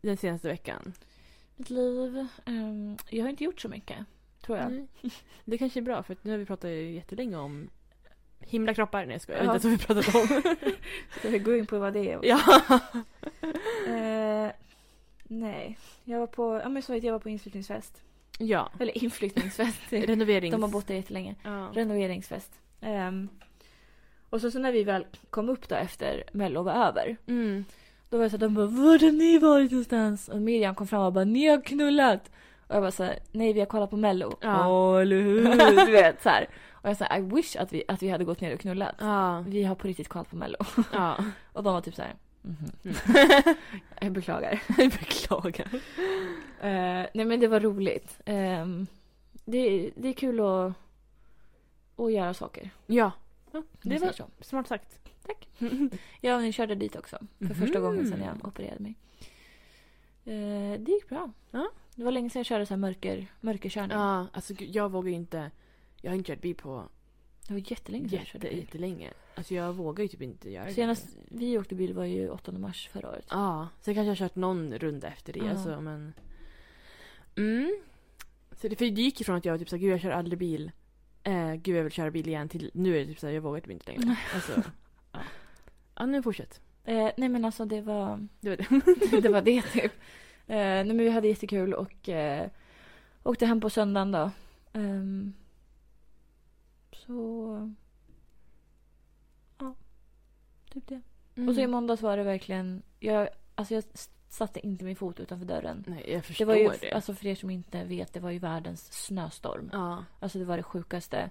Speaker 2: den senaste veckan?
Speaker 1: mitt liv, ehm, jag har inte gjort så mycket. Tror jag.
Speaker 2: Nej. Det kanske är bra för att nu har vi pratat ju jättelänge om himlakroppar. Nej jag skojar, jag
Speaker 1: Ja.
Speaker 2: vet inte ens vad vi pratat om.
Speaker 1: Ska vi gå in på vad det är?
Speaker 2: ja.
Speaker 1: Eh, nej. Jag var på, ja men jag sa att jag var på inflyttningsfest.
Speaker 2: ja.
Speaker 1: Eller inflyttningsfest.
Speaker 2: Renoverings...
Speaker 1: De har bott där jättelänge.
Speaker 2: Ja.
Speaker 1: Renoveringsfest. Ehm, och så, så när vi väl kom upp då efter Mello var över.
Speaker 2: Mm.
Speaker 1: Då var det så att de bara Vart har ni varit någonstans? Och Miriam kom fram och bara Ni har knullat! Och jag bara så här, Nej vi har kollat på Mello.
Speaker 2: Ja.
Speaker 1: Åh eller hur? Du vet så här. Och jag sa I wish att vi, att vi hade gått ner och knullat.
Speaker 2: Ja.
Speaker 1: Vi har på riktigt kollat på Mello.
Speaker 2: Ja.
Speaker 1: Och de var typ så här. "Mhm." Jag beklagar.
Speaker 2: Mm. Jag beklagar.
Speaker 1: Eh, nej men det var roligt. Ehm, det, det är kul att, att göra saker. om
Speaker 2: Ja.
Speaker 1: man
Speaker 2: Det
Speaker 1: säger
Speaker 2: var
Speaker 1: så.
Speaker 2: smart sagt.
Speaker 1: Tack. Jag nu körde dit också. För första
Speaker 2: Mhm.
Speaker 1: gången sedan jag opererade mig. Eh, det gick bra.
Speaker 2: Ja.
Speaker 1: Det var länge sedan jag körde så här mörker, mörkerkörning.
Speaker 2: Ja, alltså gud, jag vågar ju inte. Jag har inte kört bil på
Speaker 1: Det var jättelänge sedan jag körde
Speaker 2: Jätte,
Speaker 1: bil.
Speaker 2: jättelänge. Alltså jag vågar ju typ inte göra det.
Speaker 1: Senast vi åkte bil var ju 8 mars förra året.
Speaker 2: Ja, sen kanske jag har kört någon runda efter det.
Speaker 1: Ja.
Speaker 2: Alltså, men... Mm. Så det, för det gick ifrån att jag var typ såhär, gud jag kör aldrig bil. Eh, gud jag vill köra bil igen till nu är det typ såhär, jag vågar typ inte längre. Alltså, ja. Ja, nu fortsätt.
Speaker 1: Eh, nej men alltså det var
Speaker 2: Det var det.
Speaker 1: det, var det typ. Eh, nej men vi hade jättekul och eh, åkte hem på söndagen då. Ehm, så... Ja, typ det.
Speaker 2: Mm.
Speaker 1: Och så i måndags var det verkligen... Jag, alltså jag s- satte inte min fot utanför dörren.
Speaker 2: Nej, jag
Speaker 1: Det
Speaker 2: förstår
Speaker 1: var
Speaker 2: det.
Speaker 1: ju, alltså för er som inte vet, det var ju världens snöstorm.
Speaker 2: ja.
Speaker 1: Alltså det var det sjukaste.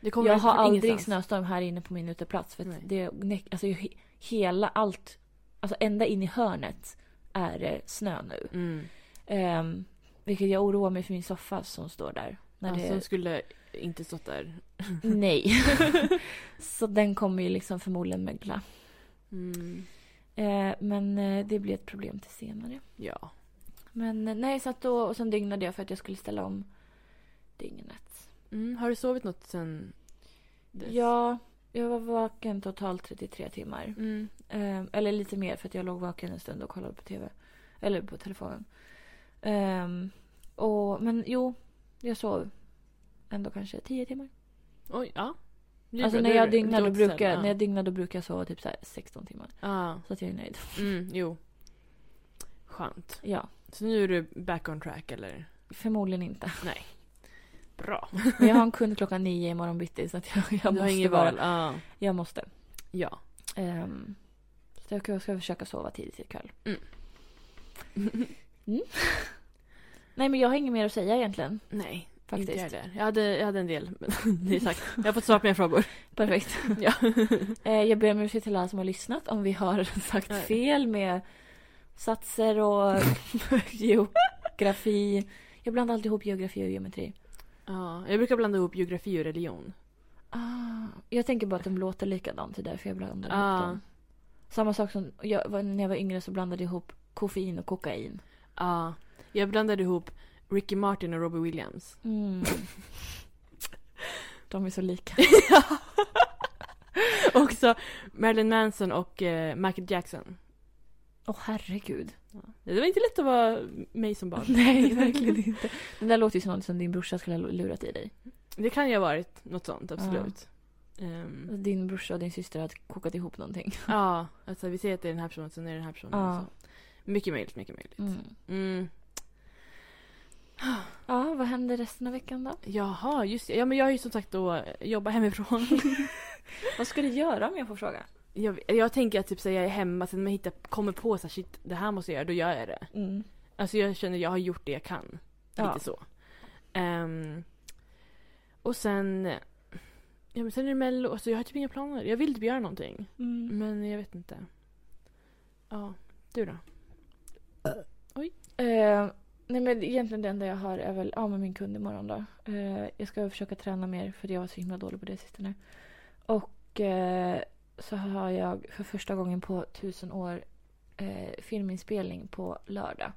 Speaker 2: det kommer
Speaker 1: Jag har
Speaker 2: från
Speaker 1: aldrig
Speaker 2: ingenstans.
Speaker 1: snöstorm här inne på min uteplats. För
Speaker 2: Nej.
Speaker 1: att det, ne- alltså he- hela allt, alltså ända in i hörnet är det snö nu.
Speaker 2: Mm.
Speaker 1: Ehm, vilket jag oroar mig för min soffa som står där. När
Speaker 2: Alltså,
Speaker 1: det,
Speaker 2: hon skulle inte stått där.
Speaker 1: nej. så den kommer ju liksom förmodligen mögla.
Speaker 2: Mm.
Speaker 1: Eh, men eh, det blir ett problem till senare.
Speaker 2: Ja.
Speaker 1: Men eh, nej, så att då, och sen dygnade jag för att jag skulle ställa om dygnet.
Speaker 2: Mm. Har du sovit något sen dess?
Speaker 1: Ja, jag var vaken totalt 33 timmar.
Speaker 2: Mm.
Speaker 1: Eh, eller lite mer för att jag låg vaken en stund och kollade på tv. Eller på telefonen. Ehm, och, men jo, jag sov ändå kanske 10 timmar.
Speaker 2: Oj, ja. Det är
Speaker 1: Alltså
Speaker 2: bra,
Speaker 1: när
Speaker 2: det är
Speaker 1: jag,
Speaker 2: bra.
Speaker 1: dygnar, då
Speaker 2: Låter sen,
Speaker 1: brukar,
Speaker 2: ja.
Speaker 1: när jag dygnar då brukar jag sova typ så här 16 timmar.
Speaker 2: Ja.
Speaker 1: Så att jag är nöjd.
Speaker 2: Mm, jo. Skönt.
Speaker 1: Ja,
Speaker 2: Så nu är du back on track eller?
Speaker 1: förmodligen inte.
Speaker 2: Bra.
Speaker 1: Men jag har en kund klockan nio imorgon bitti så att jag, jag
Speaker 2: du har
Speaker 1: måste
Speaker 2: inget
Speaker 1: bara.
Speaker 2: val. Ja.
Speaker 1: Jag måste.
Speaker 2: ja.
Speaker 1: Ehm, så jag ska- jag ska försöka sova tidigt ikväll.
Speaker 2: Mm.
Speaker 1: Mm. Nej men jag har inget mer att säga egentligen.
Speaker 2: Nej,
Speaker 1: Faktiskt.
Speaker 2: inte jag heller. Jag hade, jag hade en del, men det är sagt. Jag har fått svar på mina frågor.
Speaker 1: Perfekt.
Speaker 2: Ja.
Speaker 1: Eh, jag ber om ursäkt till alla som har lyssnat om vi har sagt
Speaker 2: Nej.
Speaker 1: fel med satser och geografi. Jag blandar alltid ihop geografi och geometri.
Speaker 2: ja. Jag brukar blanda ihop geografi och religion.
Speaker 1: Ah, jag tänker bara att de låter likadant, det är därför jag blandar
Speaker 2: Ah.
Speaker 1: ihop dem. Samma sak som jag, var- när jag var yngre så blandade jag ihop koffein och kokain.
Speaker 2: Ja. Jag blandade ihop Ricky Martin och Robbie Williams.
Speaker 1: Mm. de är så lika.
Speaker 2: Också Marilyn Manson och eh, Michael Jackson.
Speaker 1: Åh herregud.
Speaker 2: Det var inte lätt att vara mig som barn.
Speaker 1: Nej, verkligen inte. Det där låter ju som något som din brorsa skulle ha lurat i dig.
Speaker 2: Det kan ju ha varit något sånt, absolut. Ehm,
Speaker 1: Alltså, Din brorsa och din syster har kokat ihop någonting.
Speaker 2: Ja, alltså vi säger att det är den här personen, sen är det den här personen.
Speaker 1: Ja.
Speaker 2: Så. Mycket möjligt, mycket möjligt.
Speaker 1: Mm.
Speaker 2: Mm.
Speaker 1: Ja, vad händer resten av veckan då?
Speaker 2: Jaha, just det. Ja, men jag har ju som sagt då eh, jobbat hemifrån.
Speaker 1: Vad ska du göra om jag får fråga?
Speaker 2: Jag, jag tänker att typ så här, jag är hemma, sen när jag hittar, kommer på så här, shit, det här måste jag göra, då gör jag det.
Speaker 1: Mm.
Speaker 2: Alltså jag känner jag har gjort det jag kan.
Speaker 1: Ja.
Speaker 2: Lite så. Ehm, och sen... Ja men sen är det mello, alltså jag har typ inga planer. Jag vill typ göra någonting.
Speaker 1: Mm.
Speaker 2: Men jag vet inte. Ja, du då?
Speaker 1: Eh, nej men egentligen det enda jag har är väl, ja med min kund imorgon då. Eh, jag ska försöka träna mer för jag var så himla dålig på det sistone. Och eh, så har jag för första gången på tusen år eh, filminspelning på lördag.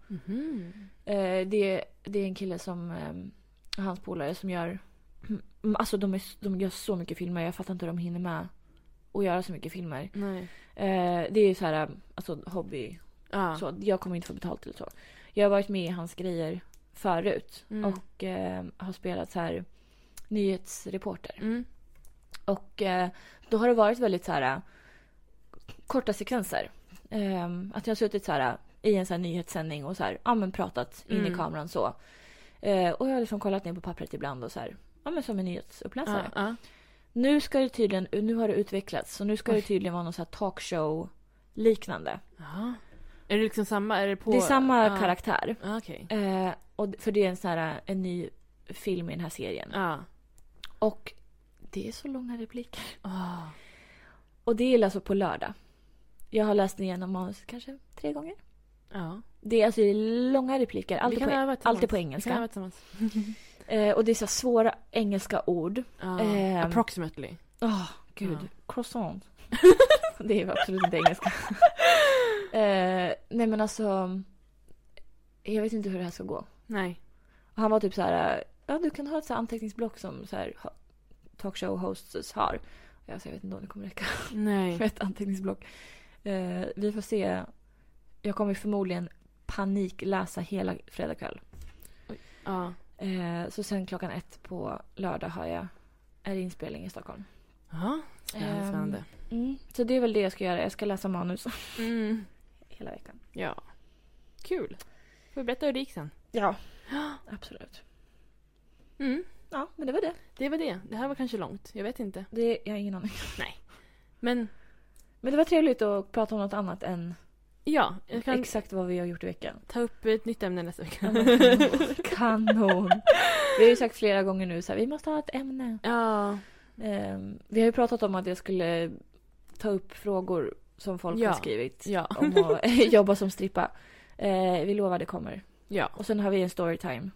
Speaker 1: Eh, det, det är en kille som, eh, hans polare som gör, alltså de, är, de gör så mycket filmer. Jag fattar inte hur de hinner med att göra så mycket filmer.
Speaker 2: Nej.
Speaker 1: Eh, det är ju så här, alltså hobby.
Speaker 2: Ja.
Speaker 1: Så, jag kommer inte få betalt eller så. Jag har varit med i hans grejer förut
Speaker 2: Mm.
Speaker 1: och eh, har spelat så här nyhetsreporter.
Speaker 2: Mm.
Speaker 1: Och eh, då har det varit väldigt så här eh, korta sekvenser. Ehm, att jag har suttit så här eh, i en så här nyhetssändning och så här, ja men pratat in
Speaker 2: Mm.
Speaker 1: i kameran så. Eh, och jag har liksom kollat ner på pappret ibland och så här, ja men som en nyhetsuppläsare.
Speaker 2: Ja, ja.
Speaker 1: Nu ska det tydligen, nu har det utvecklats så nu ska det tydligen vara någon så här talkshow liknande.
Speaker 2: Ja. Är det liksom samma? Är det på?
Speaker 1: Det är samma
Speaker 2: Ja.
Speaker 1: karaktär.
Speaker 2: Ja, Okej.
Speaker 1: Eh, och, d- för det är en, sån här, eh, en ny film i den här serien.
Speaker 2: Ja.
Speaker 1: Och det är så långa repliker.
Speaker 2: Ah.
Speaker 1: Och det är alltså på lördag. Jag har läst igenom manuset kanske tre gånger.
Speaker 2: Ja.
Speaker 1: Det är alltså det är långa repliker,
Speaker 2: Vi
Speaker 1: alltid
Speaker 2: kan
Speaker 1: på,
Speaker 2: öva
Speaker 1: alltid på
Speaker 2: tillsammans. Vi kan
Speaker 1: engelska.
Speaker 2: öva tillsammans.
Speaker 1: Eh, och det är så här svåra engelska ord.
Speaker 2: Ja.
Speaker 1: Ehm.
Speaker 2: Approximately.
Speaker 1: Åh, gud.
Speaker 2: Ja.
Speaker 1: Croissant. det är ju absolut inte engelska. eh, nej men alltså. Jag vet inte hur det här ska gå.
Speaker 2: Nej.
Speaker 1: Och han var typ så här, ja du kan ha ett så här anteckningsblock som så här ho- talkshow hosts har. Och jag, sa, jag vet inte om det kommer räcka
Speaker 2: Nej.
Speaker 1: med ett anteckningsblock. Eh, vi får se. Jag kommer förmodligen panikläsa hela fredag kväll.
Speaker 2: Ja.
Speaker 1: Eh, så sen klockan ett på lördag har jag är det inspelning i Stockholm.
Speaker 2: Ja. Det här är
Speaker 1: Ehm,
Speaker 2: spännande.
Speaker 1: Mm. Så det är väl det jag ska göra. Jag ska läsa manus
Speaker 2: Mm.
Speaker 1: hela veckan.
Speaker 2: Ja. Kul. Får vi berätta hur det gick sen?
Speaker 1: Ja. Absolut.
Speaker 2: Mm.
Speaker 1: Ja, men det var det.
Speaker 2: Det var det. Det här var kanske långt. Jag vet inte.
Speaker 1: det jag har ingen aning.
Speaker 2: Men
Speaker 1: Men det var trevligt att prata om något annat än
Speaker 2: ja, jag kan
Speaker 1: exakt vad vi har gjort i veckan.
Speaker 2: ta upp ett nytt ämne nästa vecka.
Speaker 1: Kanon! Vi har ju sagt flera gånger nu så här, vi måste ha ett ämne.
Speaker 2: Ja.
Speaker 1: Ehm, vi har ju pratat om att jag skulle ta upp frågor som folk
Speaker 2: Ja.
Speaker 1: har skrivit
Speaker 2: Ja.
Speaker 1: om att jobba som strippa. Eh, vi lovar det kommer.
Speaker 2: Ja.
Speaker 1: Och sen har vi en storytime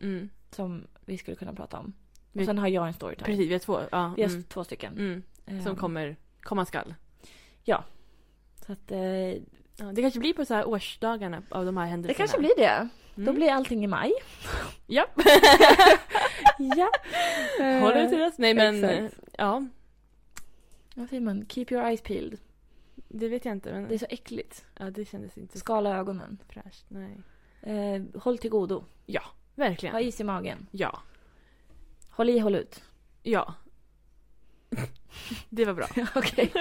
Speaker 2: Mm.
Speaker 1: som vi skulle kunna prata om. Och
Speaker 2: Vi-
Speaker 1: sen har jag en storytime.
Speaker 2: Precis, vi har två. Ja.
Speaker 1: Vi har
Speaker 2: Mm.
Speaker 1: två stycken.
Speaker 2: Mm. Som
Speaker 1: Ehm,
Speaker 2: kommer komma skall.
Speaker 1: Så att, eh,
Speaker 2: Ja, det kanske blir på så här årsdagarna av de här
Speaker 1: det
Speaker 2: händelserna.
Speaker 1: kanske blir det.
Speaker 2: Mm.
Speaker 1: Då blir allting i maj.
Speaker 2: Ja.
Speaker 1: ja.
Speaker 2: Håller till dess. Nej men,
Speaker 1: Eh, Exakt.
Speaker 2: eh, ja.
Speaker 1: Vad säger man? Keep your eyes peeled.
Speaker 2: Det vet jag inte. Men
Speaker 1: Det är så äckligt.
Speaker 2: ja, det kändes inte så
Speaker 1: Skala ögonen.
Speaker 2: fräscht. Nej.
Speaker 1: Eh, håll till godo.
Speaker 2: Verkligen.
Speaker 1: Ha is i magen.
Speaker 2: Ja.
Speaker 1: Håll i, håll ut.
Speaker 2: Ja. Det var bra.
Speaker 1: Okej.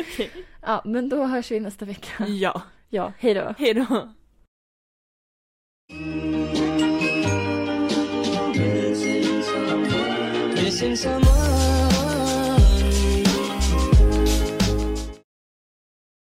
Speaker 1: Ja, men då hörs vi nästa vecka.
Speaker 2: Ja.
Speaker 1: Ja, hej då.
Speaker 2: Hej då.
Speaker 3: Missing someone.